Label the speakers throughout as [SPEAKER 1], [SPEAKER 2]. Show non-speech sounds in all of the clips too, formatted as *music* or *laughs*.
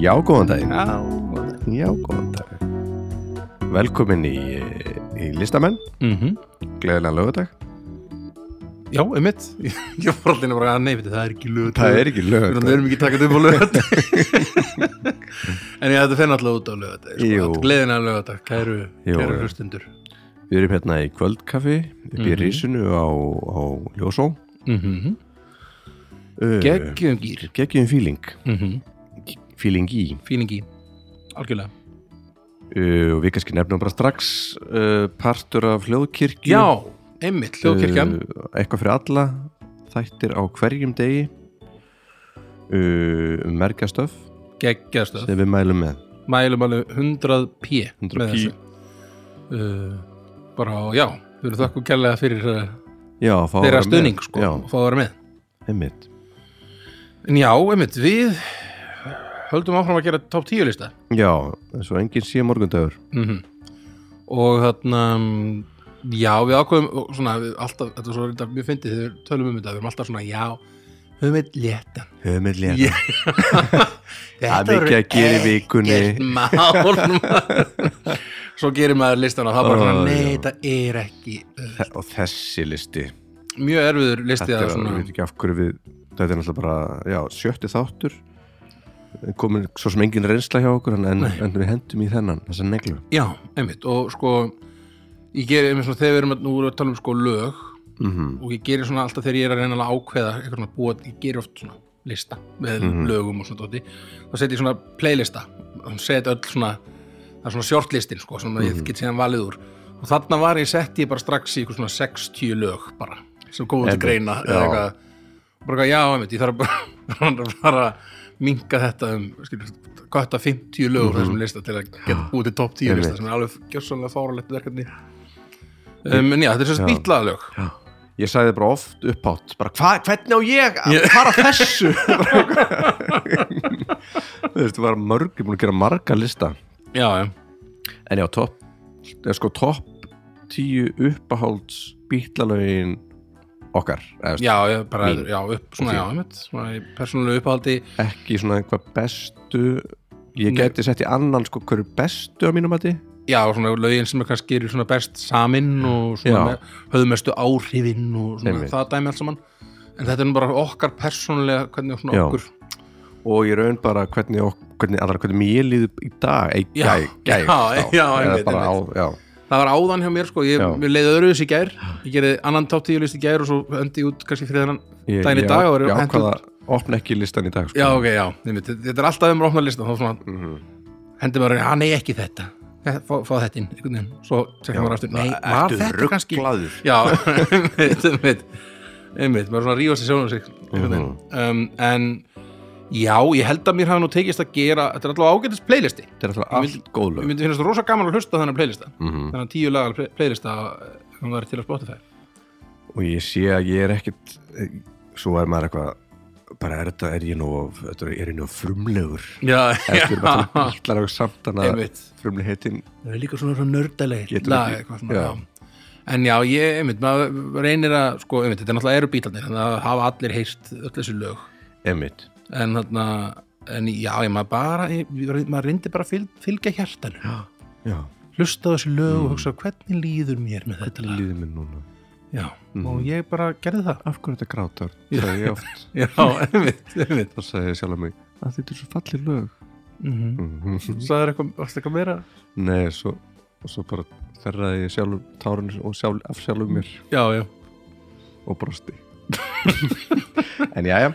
[SPEAKER 1] Já, góðan daginn.
[SPEAKER 2] Já, góðan dag.
[SPEAKER 1] Já, góðan daginn. Velkomin í, í listamenn,
[SPEAKER 2] Mhm.
[SPEAKER 1] gleðilega lögudag.
[SPEAKER 2] Já, einmitt. *laughs* Ég ég var allir bara að neyfiti, það er ekki lögut.
[SPEAKER 1] ekki
[SPEAKER 2] Þannig að við erum ekki takað upp á lögut.
[SPEAKER 1] *laughs*
[SPEAKER 2] en ég þetta fer náttúrulega út á lögut.
[SPEAKER 1] Jú.
[SPEAKER 2] Sko, Gleðina lögut, kæru,
[SPEAKER 1] Jú.
[SPEAKER 2] kæru hlustundur.
[SPEAKER 1] Við erum hérna í kvöldkaffi upp í
[SPEAKER 2] Mhm.
[SPEAKER 1] Rísinu á, á Ljósó.
[SPEAKER 2] Mm
[SPEAKER 1] Mhm.
[SPEAKER 2] -hmm.
[SPEAKER 1] Uh,
[SPEAKER 2] Geggjum gýr.
[SPEAKER 1] Geggjum fíling.
[SPEAKER 2] Mm -hmm.
[SPEAKER 1] Mhm. Fíling í.
[SPEAKER 2] Fílingi. Algjörlega.
[SPEAKER 1] Uh, og við kannski nefnum bara strax uh, partur af hljóðkirkju.
[SPEAKER 2] Já, einmitt, hljóðkirkjan.
[SPEAKER 1] Uh, eitthvað fyrir alla, þættir á hverjum degi. Uh, um merkastöf
[SPEAKER 2] Geggjaðstöð.
[SPEAKER 1] sem við mælum með.
[SPEAKER 2] Mælum alveg 100 p.
[SPEAKER 1] 100p.
[SPEAKER 2] með þessu. Uh, bara, já, við erum þakku kærlega fyrir uh,
[SPEAKER 1] Já, fá að
[SPEAKER 2] þeirra
[SPEAKER 1] vera með.
[SPEAKER 2] stöðning, sko,
[SPEAKER 1] Já,
[SPEAKER 2] og fá að vera með.
[SPEAKER 1] einmitt.
[SPEAKER 2] En já, einmitt, við höldum áfram að gera top 10 lista
[SPEAKER 1] Já, eins og enginn sé morgundagur.
[SPEAKER 2] og þarna mm, já, við ákveðum og svona, við alltaf, þetta er svo reynda mjög fyndið þegar við tölum um þetta, við erum alltaf svona, já höfum við léttan
[SPEAKER 1] Höfum við létt.
[SPEAKER 2] Ég-
[SPEAKER 1] Það er mikið að gera í vikunni.
[SPEAKER 2] ekkert mál *laughs* maður. svo gerir maður listan og það er bara,
[SPEAKER 1] Ó,
[SPEAKER 2] svona, nei,
[SPEAKER 1] já.
[SPEAKER 2] þetta er ekki auðvelt."
[SPEAKER 1] Og þessi listi.
[SPEAKER 2] mjög erfiður listi
[SPEAKER 1] Þetta
[SPEAKER 2] að
[SPEAKER 1] er,
[SPEAKER 2] svona,
[SPEAKER 1] ég veit ekki af hverju við, þetta er náttúrulega bara, já, sjötti þáttur. Komin svo sem engin reynsla hjá okkur, en, en við hendum í þennan, þessa neglu.
[SPEAKER 2] já, einmitt og sko, ég gerir einmitt svona þegar við erum að, nú erum við að tala um sko lög
[SPEAKER 1] Mm -hmm.
[SPEAKER 2] og ég gerir svona alltaf þegar ég er að reyna að ákveða eitthvað svona búa, ég gerir oft svona lista með
[SPEAKER 1] Mhm.
[SPEAKER 2] lögum og svona dóti þá set ég svona playlista og set öll svona, það er svona shortlistin sko, sem
[SPEAKER 1] Mhm.
[SPEAKER 2] ég get síðan valið úr og þarna var ég sett ég bara strax í eitthvað svona 60 lög bara, sem komum til
[SPEAKER 1] Einmitt,
[SPEAKER 2] greina eða
[SPEAKER 1] já.
[SPEAKER 2] eitthvað, bara eitthvað, já, einmitt, ég þarf bara, *laughs* bara, bara minga þetta um, skilur, kvætta 50 lög úr þessum lista til að geta búið til topp 10 lista
[SPEAKER 1] Mhm. Ah, Einmitt.
[SPEAKER 2] sem er alveg gjössanlega fáralegt verkefni um, en já, þetta er svo spýtlaðalög
[SPEAKER 1] Ég sagði bara oft upphátt, bara hva, hvernig á ég að
[SPEAKER 2] Ég-
[SPEAKER 1] fara að *laughs* þessu? Þú veist, við varum mörg, ég búin að gera marga lista.
[SPEAKER 2] já, já
[SPEAKER 1] En já, topp, eða sko topp tíu uppáhalds bítlalögin okkar. Eða, veist,
[SPEAKER 2] Já, já, bara,
[SPEAKER 1] Mín.
[SPEAKER 2] já, upp, svona,
[SPEAKER 1] Og
[SPEAKER 2] já, einmitt, svona í persónulegu upphaldi,
[SPEAKER 1] ekki svona eitthvað bestu ég
[SPEAKER 2] Nei.
[SPEAKER 1] geti sett í annan sko hverju bestu á mínum mati
[SPEAKER 2] já, svona lögin sem er kannski eru svona best samin og svona
[SPEAKER 1] Já.
[SPEAKER 2] með, höfðmestu áhrifin og svona
[SPEAKER 1] Einmitt.
[SPEAKER 2] það dæmi allt saman, en þetta er nú bara okkar persónulega, hvernig svona
[SPEAKER 1] Já.
[SPEAKER 2] okkur,
[SPEAKER 1] og ég raun bara hvernig, ok- hvernig, allra, hvernig mér líður í dag ei,
[SPEAKER 2] Já.
[SPEAKER 1] gæ, gæ,
[SPEAKER 2] Já, já,
[SPEAKER 1] Eða
[SPEAKER 2] einmitt,
[SPEAKER 1] bara á, já,
[SPEAKER 2] það var áðan hjá mér, sko, ég,
[SPEAKER 1] Já.
[SPEAKER 2] mér leiði öðruðis í gær, ég gerði annan top 10 list í gær og svo öndi ég út kannski fyrir þennan
[SPEAKER 1] ég,
[SPEAKER 2] daginn í
[SPEAKER 1] ég,
[SPEAKER 2] dag og
[SPEAKER 1] ég
[SPEAKER 2] er hendur,
[SPEAKER 1] ákvaða opna ekki listan í dag sko. Mhm.
[SPEAKER 2] já, ok, já, einmitt, þetta er alltaf um rofna lista, þá svona hendur maður, hann er ekki þetta, fá, fá þetta inn, einhvern veginn, svo tekja maður aftur, nei, var þetta kannski,
[SPEAKER 1] rugglaður
[SPEAKER 2] Já, *laughs* einmitt, einmitt, einmitt, maður er svona að rífast í sjálfum sig einhvern veginn.
[SPEAKER 1] Mhm.
[SPEAKER 2] um, En já, ég held að mér hafi nú tekist að gera Þetta er allavega ágætis playlisti
[SPEAKER 1] þetta er alltaf
[SPEAKER 2] Ég
[SPEAKER 1] allt góð
[SPEAKER 2] Mér
[SPEAKER 1] lög
[SPEAKER 2] myndi finnast rosa gaman að hlusta á þennan playlista
[SPEAKER 1] Mhm.
[SPEAKER 2] Þennan tíu lagar play playlista eh, Hún var til að Spotify
[SPEAKER 1] og ég sé að ég er ekkit eh, svo er maður eitthvað bara er þetta, er ég nú, of- þetta er- er ég nú of frumlegur
[SPEAKER 2] Já,
[SPEAKER 1] eftir bara bítlar og samt þannig
[SPEAKER 2] einmitt
[SPEAKER 1] frumli heitin
[SPEAKER 2] Það er líka svona svona nördaleg
[SPEAKER 1] Getur
[SPEAKER 2] lag
[SPEAKER 1] ekki-
[SPEAKER 2] eitthvað svona
[SPEAKER 1] já.
[SPEAKER 2] já. En já, ég, einmitt, maður reynir að sko, einmitt, þetta er náttúrulega eru bílarnir þannig að hafa allir heyrt öll þessi lög
[SPEAKER 1] emitt
[SPEAKER 2] en þarna en já, ég maður bara, ég, ég- maður reyndi bara að fylg, fylgja hjartanu
[SPEAKER 1] já
[SPEAKER 2] hlusta á þessi lög og hugsa hvernig líður mér með þetta lag
[SPEAKER 1] líður mér núna
[SPEAKER 2] já, og ég bara gerði það
[SPEAKER 1] af hverju þetta grátar, sagði ég oft
[SPEAKER 2] já, einmitt, einmitt
[SPEAKER 1] þá sagði ég sjálf að mig að þetta er svo fallir lög
[SPEAKER 2] Mhm. það er eitthvað, varstu eitthvað meira
[SPEAKER 1] nei, svo, og svo bara þerraði ég sjálf tárun og sjálf, af sjálfum mér
[SPEAKER 2] já, já,
[SPEAKER 1] og *laughs* brosti en jæja,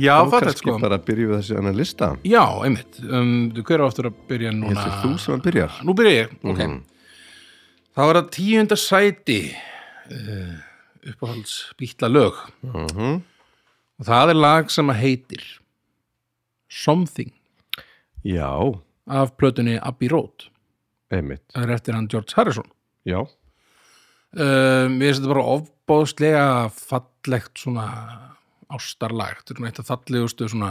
[SPEAKER 2] já,
[SPEAKER 1] þá
[SPEAKER 2] fattar sko
[SPEAKER 1] bara byrjum við þessi annan lista
[SPEAKER 2] já, einmitt, um, þú hver á aftur að byrja
[SPEAKER 1] ég
[SPEAKER 2] núna
[SPEAKER 1] heldur þú sem hann byrjar
[SPEAKER 2] nú byrja ég, ok
[SPEAKER 1] Mhm.
[SPEAKER 2] þá er það tíunda sæti uh, uppáhalds býtla lög
[SPEAKER 1] mm
[SPEAKER 2] og það er lag sem að heitir Something
[SPEAKER 1] já,
[SPEAKER 2] af plötunni Abbey Road
[SPEAKER 1] einmitt
[SPEAKER 2] það er eftir hann George Harrison
[SPEAKER 1] já,
[SPEAKER 2] Um, mér finnst þetta bara ofbóðslega fallegt svona ástarlag, þetta er svona eitt af fallegustu svona,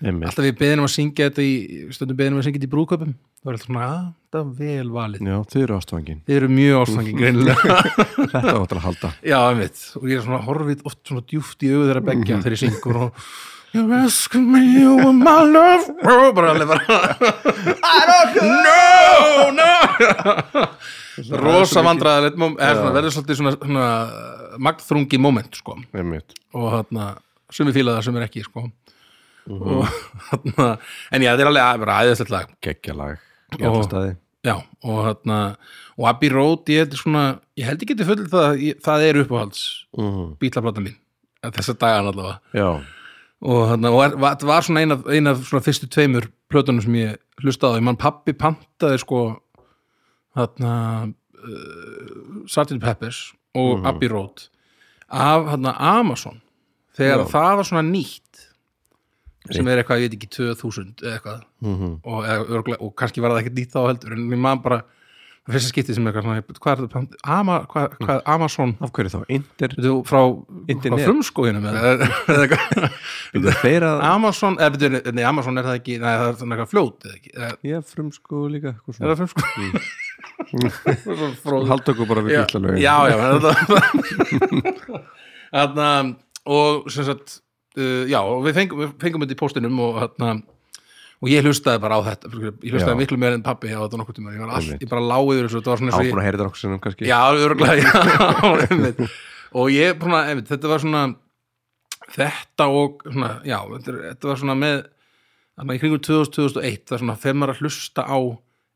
[SPEAKER 1] einmitt
[SPEAKER 2] alltaf við beðinum að syngja þetta í, stundum beðinum að syngja þetta í brúköpum það var alltaf svona, að, þetta er vel valið
[SPEAKER 1] já, þið eru ástofangin
[SPEAKER 2] þið eru mjög ástangin *laughs* greinilega
[SPEAKER 1] þetta áttur að halda
[SPEAKER 2] Mhm. já, einmitt, og ég er svona horfið oft svona djúft í augur þeirra begja þegar ég syngur og You're asking me with my love bara alveg *laughs* bara No, no *laughs* Rosa vandræðilegt mom- eða svona, verður svolítið svona, svona magnþrungi moment sko
[SPEAKER 1] *laughs* einmitt
[SPEAKER 2] og hérna sumir fíla það, sumir ekki sko og *laughs* hérna en já, þetta er alveg að- bara æðislegt lag
[SPEAKER 1] geggjalag í
[SPEAKER 2] Og-
[SPEAKER 1] alla staði
[SPEAKER 2] já, og hérna og Abbey Road, ég, þetta er svona ég held ég geti fullið það, að ég, það er uppáhalds
[SPEAKER 1] Mhm.
[SPEAKER 2] bílaplata mín þessa dagan allavega
[SPEAKER 1] já,
[SPEAKER 2] og þarna, og var- var- þetta var svona eina, eina svona fyrstu tveimur plötunum sem ég hlustaði á, ég mann pappi pantaði sko þarna uh, Sgt. Peppers og
[SPEAKER 1] Mhm.
[SPEAKER 2] Abbey Road af þarna Amazon þegar
[SPEAKER 1] Já.
[SPEAKER 2] það var svona nýtt sem er eitthvað, ég veit ekki 2000 eða eitthvað
[SPEAKER 1] Mhm.
[SPEAKER 2] og, eða, örgulega, og kannski var það ekkert nýtt þá heldur en ég man bara, það fyrsta skipti sem er eitthvað svona, hvað er þetta pant- Ama, hvað, hvað Amazon
[SPEAKER 1] af hverju þá Inter,
[SPEAKER 2] Veitu, frá, frá
[SPEAKER 1] Internet.
[SPEAKER 2] frumskóginum eða eða eitthvað
[SPEAKER 1] byrjuðu þeirra
[SPEAKER 2] Amazon, eða betur, nei, Amazon er það ekki nei, það er svona eitthvað fljót eða ekki eða,
[SPEAKER 1] ég frum sko líka eitthvað
[SPEAKER 2] er
[SPEAKER 1] svona.
[SPEAKER 2] það fyrir sko *laughs*
[SPEAKER 1] halda okkur bara við
[SPEAKER 2] já,
[SPEAKER 1] gíslalögin
[SPEAKER 2] já, já þetta- þarna og sem sagt uh, já, og við fengum, við fengum þetta í póstinum og þarna og ég hlustaði bara á þetta ég hlustaði
[SPEAKER 1] Já.
[SPEAKER 2] miklu meira en pappi á þetta nokkuð tíma ég var allt,
[SPEAKER 1] Einmitt.
[SPEAKER 2] ég bara lág yfir þessu þetta var svona eins og ég-
[SPEAKER 1] áfram að heyra þetta okkur sinnum kannski
[SPEAKER 2] Já, örgulega, já, *laughs* einmitt. Og ég, svona, einmitt, þetta var svona, þetta og, svona, já, þetta, er- þetta var svona með, þannig í kringum 2000-2001, það er svona, þegar maður er að hlusta á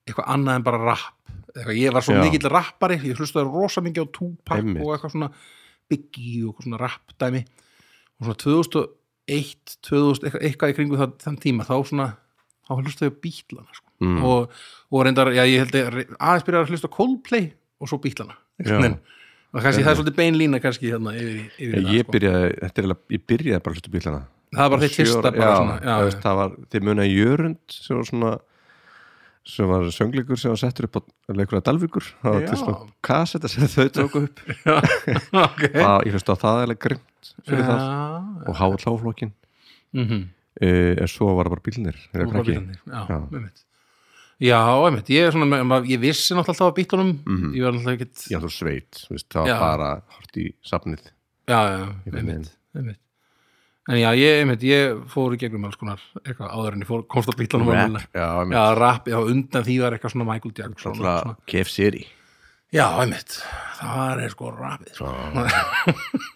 [SPEAKER 2] eitthvað annað en bara rapp, eitthvað, ég var svo
[SPEAKER 1] Já.
[SPEAKER 2] mikill rappari, ég hlustaði rosa mikið á Tupac
[SPEAKER 1] Einmitt.
[SPEAKER 2] og eitthvað svona Biggie og eitthvað svona rappdæmi, og svona 2001, 2000, eitthvað, eitthvað í kringum það, þann tíma, þá svona, þá hlustaði ég á bítlana, sko
[SPEAKER 1] Mm.
[SPEAKER 2] og, og reyndar, já ég held að aðeins byrjar að hlusta á Coldplay og svo bítlana
[SPEAKER 1] Já.
[SPEAKER 2] og kannski það er svolítið bein lína kannski hérna yfir, í- yfir í
[SPEAKER 1] Ég,
[SPEAKER 2] það,
[SPEAKER 1] ég byrjaði, þetta er eiginlega, ég byrjaði bara að hlusta á bílana
[SPEAKER 2] sko. það var þitt fyrsta bara
[SPEAKER 1] já,
[SPEAKER 2] svona
[SPEAKER 1] þú
[SPEAKER 2] já,
[SPEAKER 1] veist, það var, þið muna Jörund sem var svona sem var söngleikur sem var settur upp á leikur að Dalvíkur, það var
[SPEAKER 2] Já.
[SPEAKER 1] til svona kassetta sem þau tóku upp
[SPEAKER 2] já, *laughs* ok
[SPEAKER 1] það, ég hlusta á það eiginlega grimt fyrir
[SPEAKER 2] já,
[SPEAKER 1] það og háalláflokkin
[SPEAKER 2] mm -hmm.
[SPEAKER 1] uh, en svo var það bara bílnir
[SPEAKER 2] og bara bílarnir,
[SPEAKER 1] Já.
[SPEAKER 2] já, einmitt já, einmitt, ég er svona með- maður- ég vissi náttúrulega alltaf á bítlunum
[SPEAKER 1] Mhm.
[SPEAKER 2] ég var náttúrulega ekkert
[SPEAKER 1] já þú sveit, þú veist, það
[SPEAKER 2] Já.
[SPEAKER 1] var bara hort í safnið
[SPEAKER 2] já, já,
[SPEAKER 1] Einhvern
[SPEAKER 2] einmitt, einmitt en já, ég, einmitt, ég fór í gegnum alls konar eitthvað áður en ég fór, komst á bítlunum almennilega.
[SPEAKER 1] já,
[SPEAKER 2] já, rap, já, undan því var eitthvað svona Michael Jackson og svona
[SPEAKER 1] alltaf KFC-ri
[SPEAKER 2] Já, einmitt, það er sko rapið sko. *laughs*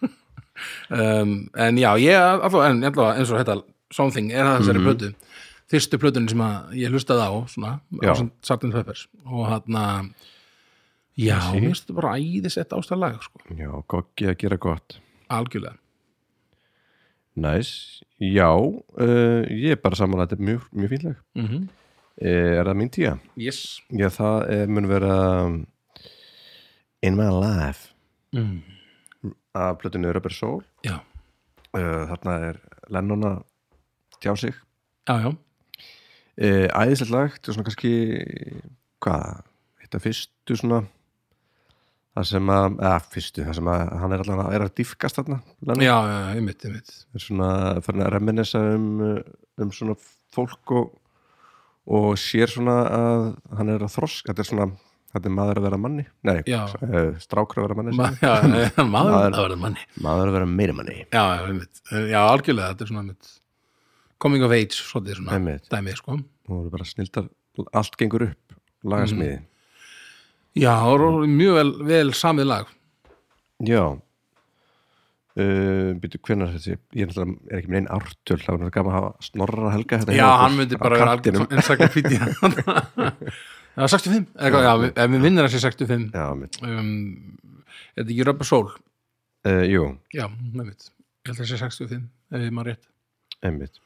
[SPEAKER 2] um, En já, ég allavega, en, allavega eins og þetta Something er það
[SPEAKER 1] Mhm.
[SPEAKER 2] þessari mm plötu Fyrstu plötunin sem að ég hlustaði á svona,
[SPEAKER 1] Já.
[SPEAKER 2] Sartin Peppers og hérna Já, mér finnst þetta bara æðisett ástæðlega sko,
[SPEAKER 1] já, goggi að gera gott
[SPEAKER 2] algjörlega
[SPEAKER 1] Næs, já, uh, ég er bara saman að þetta er mjög, mjög fínleg.
[SPEAKER 2] mm -hmm.
[SPEAKER 1] Uh, er það mín tíja?
[SPEAKER 2] Yes
[SPEAKER 1] Já, það er, mun vera um, In My Life Mhm.
[SPEAKER 2] mm.
[SPEAKER 1] af plötunni Rubber Soul.
[SPEAKER 2] Já,
[SPEAKER 1] Uh, þarna er Lennon að tjá sig.
[SPEAKER 2] já, já,
[SPEAKER 1] Uh, æðislegt lag, þetta er svona kannski, hvað, þetta fyrstu svona, það sem að, eða fyrstu, það sem að hann er allan að, er að dýfkast þarna, Lennon.
[SPEAKER 2] já, já, einmitt, einmitt
[SPEAKER 1] er svona farin að reminessa um, uh, um svona fólk og, og sér svona að hann er að þrosk þetta er svona, þetta er maður að vera manni nei,
[SPEAKER 2] Já.
[SPEAKER 1] uh, strákur að vera manni
[SPEAKER 2] Ma Já, maður,
[SPEAKER 1] Maður-
[SPEAKER 2] það var það manni
[SPEAKER 1] maður að vera meiri manni
[SPEAKER 2] Já, já, einmitt, Eh, já, algjörlega, þetta er svona einmitt Coming of age, svolítið svona
[SPEAKER 1] Einmitt.
[SPEAKER 2] Dæmið, sko
[SPEAKER 1] nú eru bara snildar, allt gengur upp lagasmiði,
[SPEAKER 2] Mm. Já, og ro- mjög vel, vel samið lag
[SPEAKER 1] já Uh, býtu, hvenær þessi ég er náttúrulega- er ekki minn einn ártöl það var náttúrulega gaman að hafa snorra helga hérna
[SPEAKER 2] Já,
[SPEAKER 1] hjá okkur
[SPEAKER 2] hann myndi bara
[SPEAKER 1] á
[SPEAKER 2] vera
[SPEAKER 1] kantinum.
[SPEAKER 2] algjörn ensaklopídi *laughs* Já, 65 eitthvað, Já, við- ef við vinnir þessi 65
[SPEAKER 1] já, mitt,
[SPEAKER 2] um, Þetta er ekki Röpa Sól
[SPEAKER 1] uh, jú,
[SPEAKER 2] Já, nefnitt Ég held að þessi 65, ef ég maður rétt
[SPEAKER 1] einmitt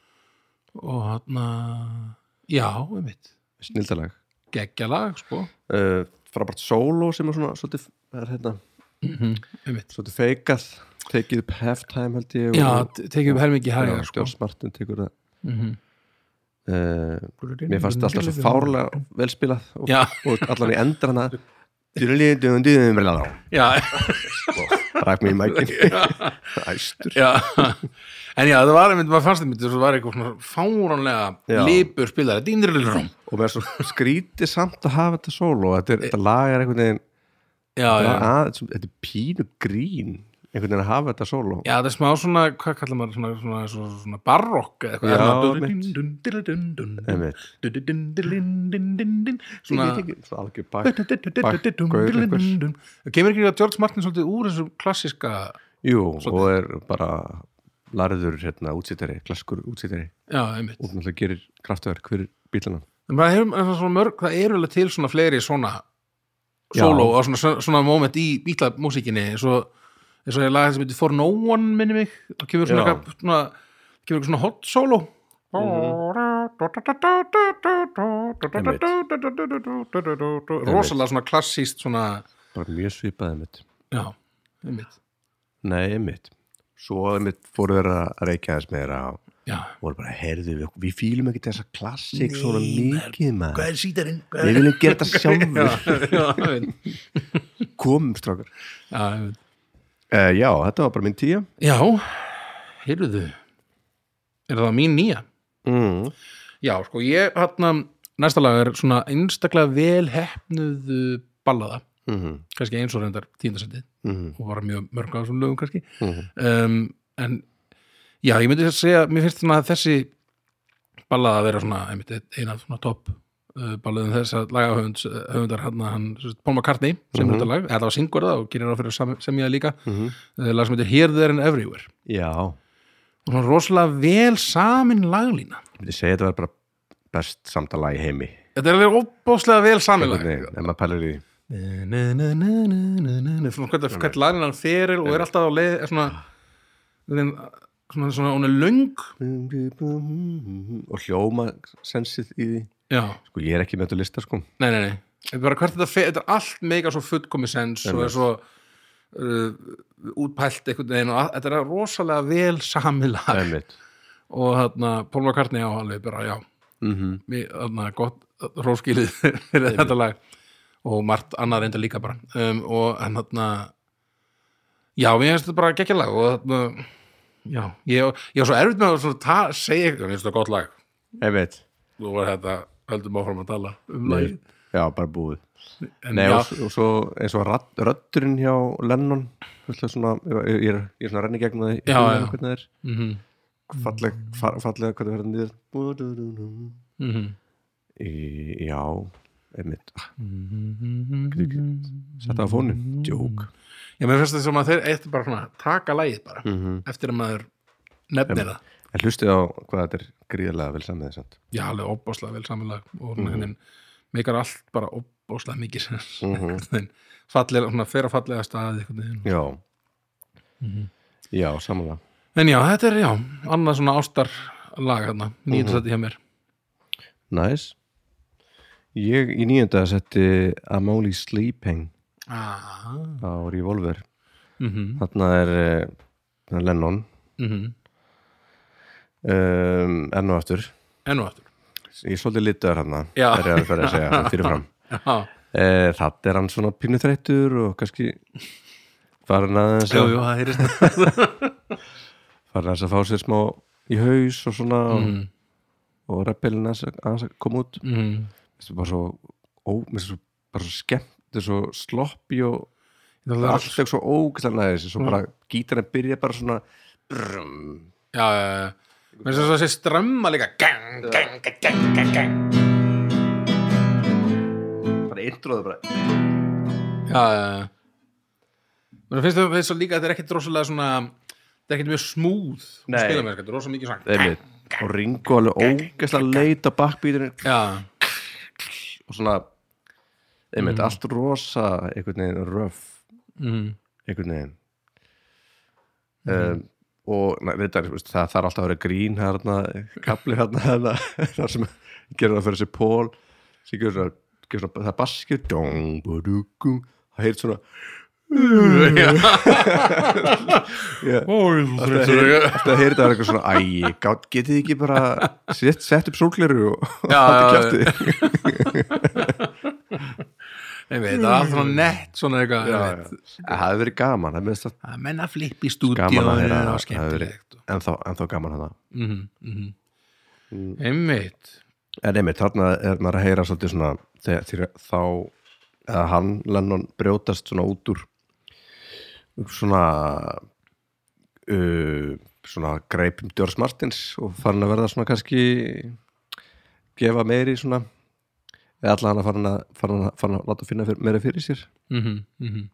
[SPEAKER 2] Og hann að Já, einmitt
[SPEAKER 1] snildalag
[SPEAKER 2] Geggja lag, sko
[SPEAKER 1] uh, frábært sóló sem er svona svolítið, það er hérna
[SPEAKER 2] Einmitt
[SPEAKER 1] svolítið feikað tekið upp halftime held ég
[SPEAKER 2] Já,
[SPEAKER 1] og,
[SPEAKER 2] te- tekið upp helmingi
[SPEAKER 1] já
[SPEAKER 2] hægar, sko
[SPEAKER 1] George Martin tekur það
[SPEAKER 2] Mhm.
[SPEAKER 1] uh, mér fannst þetta alltaf svo fárlega velspilað og,
[SPEAKER 2] Já,
[SPEAKER 1] og allan í endur hana ræk
[SPEAKER 2] já
[SPEAKER 1] mig í mækin æstur
[SPEAKER 2] Já, en já, það var einmitt, maður fannst einmitt, það var eitthvað svona
[SPEAKER 1] Já.
[SPEAKER 2] fárónlega lipur spilari, dýndurlurum
[SPEAKER 1] og mér er svo skrítið samt að hafa þetta sóló þetta, er- þetta lag er einhvern veginn
[SPEAKER 2] Já,
[SPEAKER 1] það
[SPEAKER 2] já,
[SPEAKER 1] er að, þetta er pínu grín einhvern veginn að hafa þetta sóló
[SPEAKER 2] Já, það er smá svona, hvað kallar maður, svona, svona, svona, svona barokk eða Hérna,
[SPEAKER 1] Já,
[SPEAKER 2] eitthvað.
[SPEAKER 1] einmitt
[SPEAKER 2] Já, svona,
[SPEAKER 1] Svo algjör bak
[SPEAKER 2] það kemur ekki að George Martin svolítið úr þessu klassiska
[SPEAKER 1] Jú, og er bara larður hérna útsýttari, klasskur útsýttari
[SPEAKER 2] já, einmitt
[SPEAKER 1] og náttúrulega gerir kraftverk fyrir bílana
[SPEAKER 2] En maður hefur- það er svona mörg, það eru alveg til svona fleiri svona
[SPEAKER 1] Já.
[SPEAKER 2] solo og svona, svona moment í bílamúsíkinni eins og eins og ég laga sem heitir For No One minni mig, það kemur svona,
[SPEAKER 1] Já.
[SPEAKER 2] eitthvað- svona kemur eitthvað svona hot solo Mhm. rosalega svona klassíst svona,
[SPEAKER 1] bara mjög svipaði mitt
[SPEAKER 2] já, einmitt
[SPEAKER 1] Nei, mitt Svo mitt fóru þeir að reykja þess meira og
[SPEAKER 2] já,
[SPEAKER 1] voru bara, heyrðu, við, við fýlum ekki þessa klassik
[SPEAKER 2] Nei,
[SPEAKER 1] svona
[SPEAKER 2] maður,
[SPEAKER 1] mikið maður
[SPEAKER 2] er sítarinn?
[SPEAKER 1] Við viljum gera
[SPEAKER 2] *laughs*
[SPEAKER 1] þetta
[SPEAKER 2] Já,
[SPEAKER 1] sjálfur
[SPEAKER 2] já, einmitt.
[SPEAKER 1] Komum, strákar
[SPEAKER 2] já, einmitt.
[SPEAKER 1] uh, Já, þetta var bara minn tíu
[SPEAKER 2] já heyrðu er það mín nýja?
[SPEAKER 1] mm.
[SPEAKER 2] Já, sko, ég hann næsta lag er svona einstaklega vel hefnuð ballada,
[SPEAKER 1] Mm -hmm.
[SPEAKER 2] kannski eins og reyndar tíndasætið
[SPEAKER 1] Mm -hmm.
[SPEAKER 2] og var mjög mörg af þessum lögum kannski
[SPEAKER 1] Mm -hmm.
[SPEAKER 2] um, en já, ég myndi að segja mér finnst svona að þessi ballada að vera svona, einmitt, eina svona topp uh, ballaðum þess að lagahöfund uh, höfundar hann, hann, sem sagt, Paul McCartney sem mm -hmm.
[SPEAKER 1] Mhm.
[SPEAKER 2] þetta lag, eða það var syngur það og gerir það fyrir að sam- semja það líka,
[SPEAKER 1] Mm -hmm.
[SPEAKER 2] uh, lag sem heitir Here, There and Everywhere
[SPEAKER 1] Já, ég
[SPEAKER 2] og svona rosalega vel samin laglína
[SPEAKER 1] myndi segja þetta var bara best samtala í heimi
[SPEAKER 2] þetta er alveg opbóðslega vel samin lag sko.
[SPEAKER 1] Nei, en maður pælir í því.
[SPEAKER 2] svona hvert, hvert lagin hann feril og er alltaf á leið er svona, svona, svona, svona hún er löng
[SPEAKER 1] og hljóma sensið í því
[SPEAKER 2] já,
[SPEAKER 1] sko ég er ekki með þetta lista sko
[SPEAKER 2] nei, nei, nei þetta er bara hvert þetta fer, þetta er allt mega svo fullkomi sens og er svo uh, útpælt einhvern veginn og að- þetta er rosalega vel samið lag
[SPEAKER 1] Einmitt.
[SPEAKER 2] og þarna Paul McCartney á alveg bara já,
[SPEAKER 1] Mhm.
[SPEAKER 2] mér- þarna gott róskilið *laughs* fyrir þetta lag og margt annað reynda líka bara um, og en þarna já, mér finnst þetta bara gekkja lag og þarna, já, ég, ég var svo erfitt með að svona ta, segja eitthvað, mér finnst þetta gott lag
[SPEAKER 1] Einmitt.
[SPEAKER 2] þú var þetta, höldum áfram að tala um
[SPEAKER 1] Nei,
[SPEAKER 2] lagið
[SPEAKER 1] já, bara búið
[SPEAKER 2] en
[SPEAKER 1] Nei,
[SPEAKER 2] já,
[SPEAKER 1] og, s- og svo eins og radd, röddurinn hjá Lennon höllu svona, ég, ég, er, ég er svona að renni gegn það í
[SPEAKER 2] Já,
[SPEAKER 1] huganum
[SPEAKER 2] já.
[SPEAKER 1] hvernig það er
[SPEAKER 2] mm -hmm,
[SPEAKER 1] fallega, fa- fallega hvernig verður nýður Bú-dú-dú-dú.
[SPEAKER 2] Mhm,
[SPEAKER 1] Í- já, einmitt þetta á fónin, djók
[SPEAKER 2] mhm. já, mér finnst þetta sem að þeir eitt bara svona taka lagið bara
[SPEAKER 1] Mhm.
[SPEAKER 2] eftir að maður nefnir það
[SPEAKER 1] en hlustið á hvað þetta er gríðarlega vel samið þessant
[SPEAKER 2] já, alveg opbáslega vel samanlag og mm -hmm. meikar allt bara opbáslega mikið sens mm -hmm. fallega, svona fer að fallega staði einhvern veginn.
[SPEAKER 1] já já, samanlega
[SPEAKER 2] en já, þetta er já, annað svona ástar lag hérna, nýjum þetta hjá mér
[SPEAKER 1] næs ég í nýjönda setti I'm only sleeping
[SPEAKER 2] ah.
[SPEAKER 1] á Revolver
[SPEAKER 2] mm -hmm.
[SPEAKER 1] þarna er eh, Lennon
[SPEAKER 2] Mm -hmm.
[SPEAKER 1] um, enn og aftur
[SPEAKER 2] enn og aftur
[SPEAKER 1] ég er svolítið litaður hann
[SPEAKER 2] Já.
[SPEAKER 1] er ég að fyrir að segja
[SPEAKER 2] *laughs*
[SPEAKER 1] fyrirfram
[SPEAKER 2] já,
[SPEAKER 1] e, það er hann svona pínu þreyttur og kannski farin aðeins
[SPEAKER 2] jú,
[SPEAKER 1] að,
[SPEAKER 2] jú, það er
[SPEAKER 1] farin aðeins að fá sér smá í haus og svona
[SPEAKER 2] Mhm.
[SPEAKER 1] og, og rappelin aðeins að- aðeins að koma út
[SPEAKER 2] mm.
[SPEAKER 1] þetta er bara svo, ó, mér finnst svo bara svo skemmt, þetta er svo sloppy og allt er svo ógæslega næðis svo bara gítarinn byrja bara svona brum,
[SPEAKER 2] já, já, já mér finnst þess að þessi strömma líka gang, gang, gang, gang, gang, gang
[SPEAKER 1] bara introðu bara
[SPEAKER 2] já, já, já Mér finnst það þess að líka að þetta er ekkit rosalega svona þetta er ekkit mjög smúð
[SPEAKER 1] Nei.
[SPEAKER 2] spila mér, þetta er rosalega mikið svona
[SPEAKER 1] Einmitt. og ringu alveg ógæslega leita bakkbíturinn
[SPEAKER 2] já,
[SPEAKER 1] og svona einmitt, allt rosa einhvern veginn röf
[SPEAKER 2] mm. *laughs*
[SPEAKER 1] einhvern veginn um, og na, reyndar, veist, það þarf alltaf að vera grín hérna, kapli *laughs* hérna, hérna þar sem gerir það fyrir sér pól sem gerir svona, gerir svona það er baskir dong, badugum, það heyrð svona
[SPEAKER 2] já,
[SPEAKER 1] það heyrði það eitthvað svona æ, gát- getið þið ekki bara sett, sett upp sólgleru og
[SPEAKER 2] Já,
[SPEAKER 1] *laughs* haldið
[SPEAKER 2] já,
[SPEAKER 1] kjaftið?
[SPEAKER 2] ég veit, það er allt svona nett svona eitthvað,
[SPEAKER 1] Já,
[SPEAKER 2] ég
[SPEAKER 1] já.
[SPEAKER 2] veit
[SPEAKER 1] En það hefði verið gaman það minnst það
[SPEAKER 2] að menna flipp í
[SPEAKER 1] gaman að
[SPEAKER 2] stúdíóinu og
[SPEAKER 1] heyra það hefði verið
[SPEAKER 2] skemmtilegt
[SPEAKER 1] ennþá, ennþá gaman hana
[SPEAKER 2] Mhm, mhm. einmitt
[SPEAKER 1] En einmitt, þarna er maður að heyra svolítið svona þegar, þegar þá eða hann, Lennon, brjótast svona út úr svona uh, svona greipum Dörs Martins og farin að verða svona kannski gefa meiri svona eða allan að farin að, farin að, farin að láta finna fyrir, meira fyrir sér
[SPEAKER 2] mhm, mhm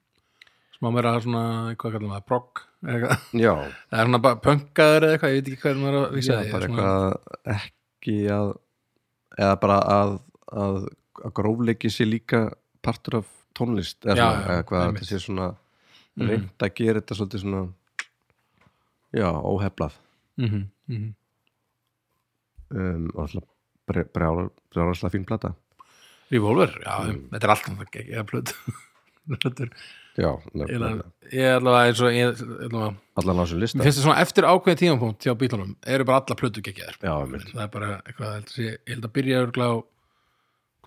[SPEAKER 2] smá meira svona, hvað kallar maður, prog eða eitthvað. *laughs*
[SPEAKER 1] já,
[SPEAKER 2] það er svona bara pönkaður eða eitthvað, ég veit ekki hvað maður er að vísa
[SPEAKER 1] já
[SPEAKER 2] því,
[SPEAKER 1] bara
[SPEAKER 2] svona-
[SPEAKER 1] eitthvað ekki að eða bara að, að, að grófleiki sé líka partur af tónlist eða,
[SPEAKER 2] Já,
[SPEAKER 1] svona,
[SPEAKER 2] já,
[SPEAKER 1] eða hvað
[SPEAKER 2] einmitt. Mhm.
[SPEAKER 1] þetta sé svona reynd að gera þetta svolítið svona já, óheflað
[SPEAKER 2] Mhm, mhm.
[SPEAKER 1] um, og alltaf bre- brjálar- brjálarslega fín plata
[SPEAKER 2] Revolver, já, þetta er alltaf það ekki, ég er *laughs* plöð þetta er,
[SPEAKER 1] já,
[SPEAKER 2] ég
[SPEAKER 1] nefnilega.
[SPEAKER 2] er- ég er allavega eins og ég, allavega,
[SPEAKER 1] allan á þessum
[SPEAKER 2] mér
[SPEAKER 1] lista
[SPEAKER 2] finnst það svona eftir ákveðin tímapunkt hjá bílunum, eru bara alla plöðu geggjæðir
[SPEAKER 1] já, einmitt.
[SPEAKER 2] það er bara eitthvað, ég held að sé- ég held að byrja örgulega á,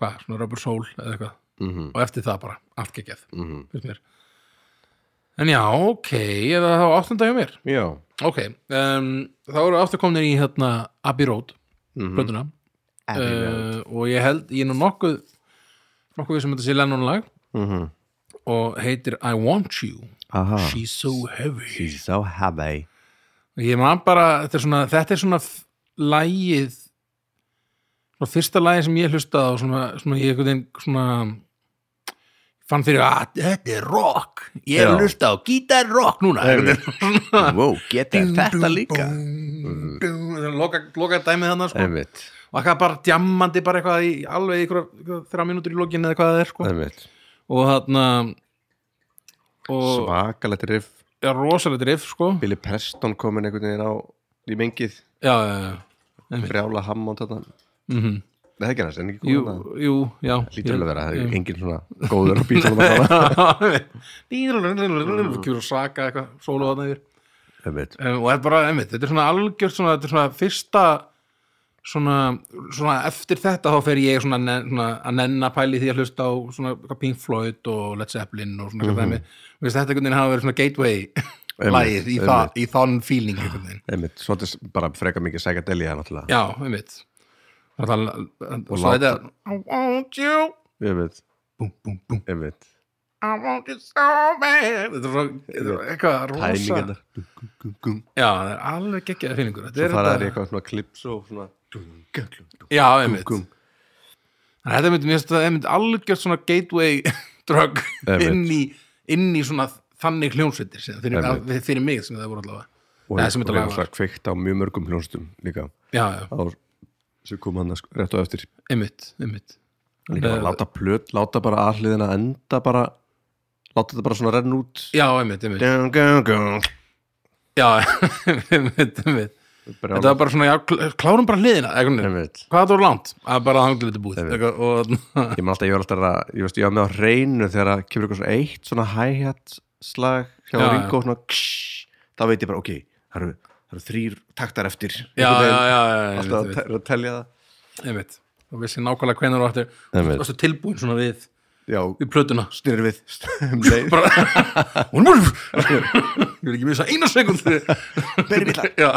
[SPEAKER 2] hvað, svona Rubber Soul eða eitthvað,
[SPEAKER 1] Mhm,
[SPEAKER 2] og eftir það bara allt geggjæð,
[SPEAKER 1] mhm.
[SPEAKER 2] finnst mér en já, ok, ég er það á áttunda hjá mér
[SPEAKER 1] já
[SPEAKER 2] Ok, um, þá eru aftur komin í hérna Abbey Road,
[SPEAKER 1] mhm.
[SPEAKER 2] blönduna
[SPEAKER 1] Road.
[SPEAKER 2] uh, og ég held, ég er nú nokkuð nokkuð við sem þetta sé Lennon lag
[SPEAKER 1] Mhm.
[SPEAKER 2] og heitir I Want You,
[SPEAKER 1] aha
[SPEAKER 2] She's So Heavy
[SPEAKER 1] Ah. she's so heavy
[SPEAKER 2] og ég man bara, þetta er svona þetta er svona f- lagið svona fyrsta lagið sem ég hlustaði á svona, svona ég einhvern veginn svona fann fyrir að þetta er rock ég er
[SPEAKER 1] Já.
[SPEAKER 2] að hlusta á gítar rock núna
[SPEAKER 1] Einmitt.
[SPEAKER 2] svona
[SPEAKER 1] wow, geta þetta líka Mm.
[SPEAKER 2] Dum, dum, dum. loka, loka dæmið hann sko.
[SPEAKER 1] einmitt,
[SPEAKER 2] og það er bara djammandi bara eitthvað í alveg ykkur þrjá mínútur í lokin eða hvað það er sko.
[SPEAKER 1] einmitt.
[SPEAKER 2] og þarna og
[SPEAKER 1] svakalegt riff
[SPEAKER 2] ja, rosalegt riff sko já,
[SPEAKER 1] Billy Preston komin einhvern veginn á í mengið,
[SPEAKER 2] já, já, Einmitt.
[SPEAKER 1] brjála Hammond þetta
[SPEAKER 2] mm
[SPEAKER 1] það er ekki hans, en ekki
[SPEAKER 2] jú,
[SPEAKER 1] komin að
[SPEAKER 2] jú, já
[SPEAKER 1] lítur alveg að vera, það
[SPEAKER 2] Ég-
[SPEAKER 1] er engin svona góður á bílunum að
[SPEAKER 2] *laughs*
[SPEAKER 1] fara
[SPEAKER 2] Dýrlulululululul, kjúr og saka eitthvað sólu þarna yfir
[SPEAKER 1] einmitt,
[SPEAKER 2] um, og þetta er bara, einmitt, þetta er svona algjört svona, þetta er svona fyrsta svona, svona eftir þetta þá fer ég svona, nen- svona að nenna pæli því að hlusta á svona eitthvað Pink Floyd og Led Zeppelin og
[SPEAKER 1] Mhm.
[SPEAKER 2] svona mm -hmm. dæmi Vist, þetta einhvern veginn hafa verið svona gateway lagið í, það, í þann feeling einhvern veginn
[SPEAKER 1] einmitt svolítið bara freka mikið sækadelja náttúrulega
[SPEAKER 2] já, einmitt og það
[SPEAKER 1] Og
[SPEAKER 2] svo
[SPEAKER 1] láta-
[SPEAKER 2] þetta I want you
[SPEAKER 1] einmitt,
[SPEAKER 2] búm, búm, búm,
[SPEAKER 1] einmitt
[SPEAKER 2] I want you so bad þetta er svo þetta er eitthvað rosa
[SPEAKER 1] tæmingarnar svo
[SPEAKER 2] já, það er alveg geggjaði feelingur Þetta
[SPEAKER 1] fara þær í
[SPEAKER 2] þetta-
[SPEAKER 1] eitthvað svona klips og svona
[SPEAKER 2] Já, einmitt
[SPEAKER 1] gúm.
[SPEAKER 2] Þannig að þetta myndi, mér finnst þetta einmitt algjört svona gateway *laughs* drug
[SPEAKER 1] Einmitt.
[SPEAKER 2] inn í, inn í svona þannig hljónsveitir sem, fyrir,
[SPEAKER 1] Einmitt.
[SPEAKER 2] að, fyrir mig sem það voru allavega
[SPEAKER 1] og
[SPEAKER 2] Nei,
[SPEAKER 1] það
[SPEAKER 2] sem
[SPEAKER 1] er
[SPEAKER 2] þetta lag var.
[SPEAKER 1] svona kveikt á mjög mörgum hljónstum líka
[SPEAKER 2] Já, já,
[SPEAKER 1] á sem kom hann sko, rétt á eftir
[SPEAKER 2] einmitt, einmitt
[SPEAKER 1] líka bara
[SPEAKER 2] Eh,
[SPEAKER 1] láta plöt, láta bara alliðina enda bara, láta þetta bara svona renn út
[SPEAKER 2] Já, einmitt, einmitt
[SPEAKER 1] Dun, dun, dun.
[SPEAKER 2] Já, *laughs* einmitt, einmitt
[SPEAKER 1] Brjálað.
[SPEAKER 2] Þetta var bara svona, já, kl- klárum bara hliðina eitthvað,
[SPEAKER 1] Einmitt.
[SPEAKER 2] Hvað þetta voru langt? Að bara að hangla þetta búið
[SPEAKER 1] Einmitt.
[SPEAKER 2] eitthvað, og,
[SPEAKER 1] ég man alltaf, ég var alltaf að, ég veist, ég var með á reynu þegar það kemur eitthvað svona eitt svona hi-hat slag hjá
[SPEAKER 2] Já,
[SPEAKER 1] Ringo svona ksh, þá veit ég bara, ok, það eru, það eru þrýr taktar eftir
[SPEAKER 2] Já, já, já, já, já
[SPEAKER 1] alltaf að
[SPEAKER 2] einmitt,
[SPEAKER 1] te- að telja það
[SPEAKER 2] einmitt, einmitt Og vissi nákvæmlega hvenær og aftur
[SPEAKER 1] Einmitt.
[SPEAKER 2] Varstu tilbúin svona við,
[SPEAKER 1] já,
[SPEAKER 2] við plötuna *laughs*
[SPEAKER 1] snurri við *laughs* um leið,
[SPEAKER 2] bara hún var *laughs* ég vil ekki missa eina sekund
[SPEAKER 1] berri við það
[SPEAKER 2] *laughs* já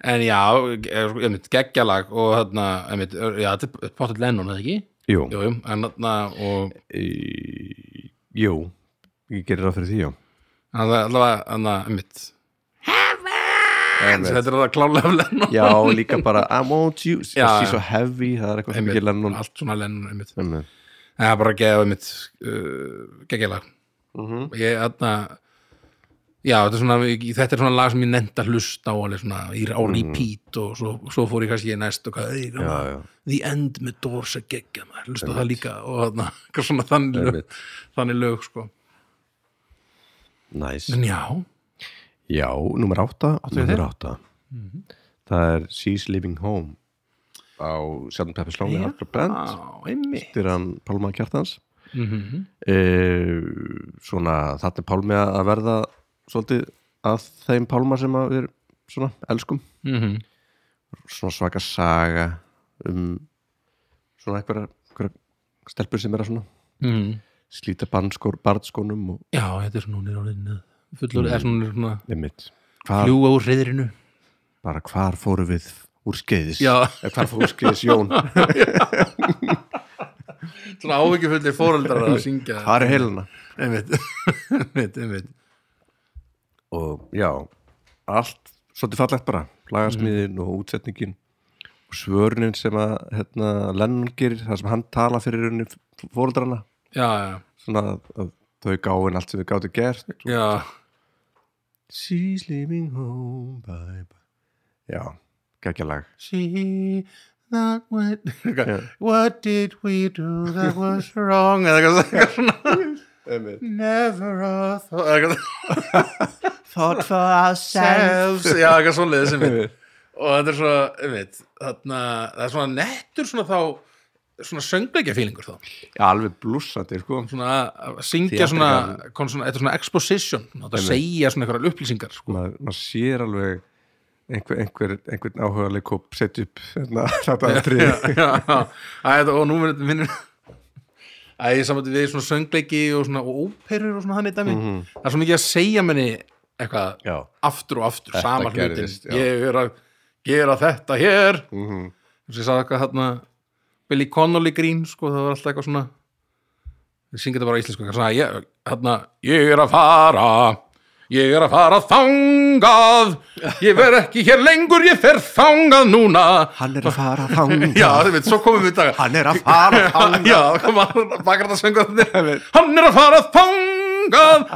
[SPEAKER 2] en já, er- einmitt geggjalag og þarna, einmitt, já, þetta er pottet Lennon eða ekki?
[SPEAKER 1] Jú,
[SPEAKER 2] Jú, jú, en þarna og
[SPEAKER 1] e, jú ég gerir það fyrir því, já
[SPEAKER 2] en það er allavega, þarna, einmitt
[SPEAKER 1] Einmitt.
[SPEAKER 2] þetta er allavega klálega af Lennon *laughs*
[SPEAKER 1] Já, líka bara, I want you
[SPEAKER 2] Já,
[SPEAKER 1] She's
[SPEAKER 2] já.
[SPEAKER 1] so heavy, það er eitthvað sem
[SPEAKER 2] Einmitt,
[SPEAKER 1] ekki lenn
[SPEAKER 2] allt svona Lennon, einmitt
[SPEAKER 1] Einmitt.
[SPEAKER 2] en það er bara geggjalag, einmitt uh, geggjalag
[SPEAKER 1] Mhm.
[SPEAKER 2] ég, þarna Já, þetta er, svona, ég- þetta er svona lag sem ég nefnda hlust á alveg svona í á repeat og svo, svo fór ég kannski í næst og hvað, ég,
[SPEAKER 1] Mhm. Já, já,
[SPEAKER 2] The End með Doors að gegja maður, hlusta það líka og þarna, *laughs* eitthvað svona þannig lög, þannig lög sko.
[SPEAKER 1] næs
[SPEAKER 2] en já,
[SPEAKER 1] Já, númer átta,
[SPEAKER 2] við Mhm.
[SPEAKER 1] númer átta. Það er She's Living Home á Sjöldum Peppi Slóni
[SPEAKER 2] Já. Ah,
[SPEAKER 1] Harper Band
[SPEAKER 2] á, einmi
[SPEAKER 1] eftir hann Pálma Kjartans
[SPEAKER 2] mm -hmm.
[SPEAKER 1] e, Svona, þarna er Pálmi að verða svolítið að þeim Pálma sem að við svona elskum
[SPEAKER 2] mhm,
[SPEAKER 1] svona svaka saga um svona einhverja, einhverja stelpur sem er að svona slíta barnskór, barnskónum og
[SPEAKER 2] mhm. já, þetta er svona hún er orðin fullur, mm. er svona, hún er svona
[SPEAKER 1] nemitt hvar,
[SPEAKER 2] hljúa úr reyðrinu
[SPEAKER 1] bara hvar fóru við úr skeiðis
[SPEAKER 2] Já.
[SPEAKER 1] Eða hvar fóru úr skeiðis
[SPEAKER 2] *laughs*
[SPEAKER 1] Jón
[SPEAKER 2] svona áhyggjufullir fóreldrar að syngja
[SPEAKER 1] Hvar er helina?
[SPEAKER 2] *laughs* einmitt *laughs* einmitt, einmitt
[SPEAKER 1] og já, allt svolítið fallegt bara, lagasmiðin og útsetningin og svörnin sem að hérna, Lennon gerir, það sem hann tala fyrir henni fóreldrana
[SPEAKER 2] já, já,
[SPEAKER 1] svona að, að þau gáin allt sem þau gáttu gert
[SPEAKER 2] já,
[SPEAKER 1] She's leaving home bye bye Já, geggja lag
[SPEAKER 2] she that went *laughs*
[SPEAKER 1] Já.
[SPEAKER 2] what did we do that was wrong eða eitthvað- eitthvað *laughs* svona never a thought eða eitthvað-
[SPEAKER 1] Thought for ourselves
[SPEAKER 2] selves já, eitthvað svona leið sem *laughs* við og þetta er svo, einmitt þarna, það er svona nettur svona þá svona söngleikja fílingur þá
[SPEAKER 1] Já, alveg blússandi, sko
[SPEAKER 2] svona að syngja
[SPEAKER 1] Theatrical.
[SPEAKER 2] svona, kom svona, þetta er svona exposition svona, að segja svona einhverjar upplýsingar sko.
[SPEAKER 1] maður maður sér alveg einhver, einhver, einhvern áhugaleg kóp sett upp hérna, *laughs* þetta aðrið
[SPEAKER 2] já, já, Æ, þetta, og nú verður minnum að ég samvætti við svona söngleiki og svona og óperur og svona þannig dæmi það er svo mikið að segja menni eitthvað
[SPEAKER 1] Mhm. Já,
[SPEAKER 2] aftur og aftur, sama hlutin
[SPEAKER 1] gerðist, já.
[SPEAKER 2] ég er að gera þetta hér
[SPEAKER 1] mm
[SPEAKER 2] þess að ég sagði eitthvað hérna Billy Connolly grín sko, það var alltaf eitthvað svona ég syngi þetta bara á íslensku eitthvað svona, ég, hérna, ég er að fara ég er að fara þangað ég verð ekki hér lengur ég fer þangað núna
[SPEAKER 1] Hann er að fara þang
[SPEAKER 2] *laughs* já, þú veit, svo komum við í dag
[SPEAKER 1] Hann er að fara
[SPEAKER 2] *laughs*
[SPEAKER 1] þang
[SPEAKER 2] já, kom að bakar þetta söngu hann er að fara þangað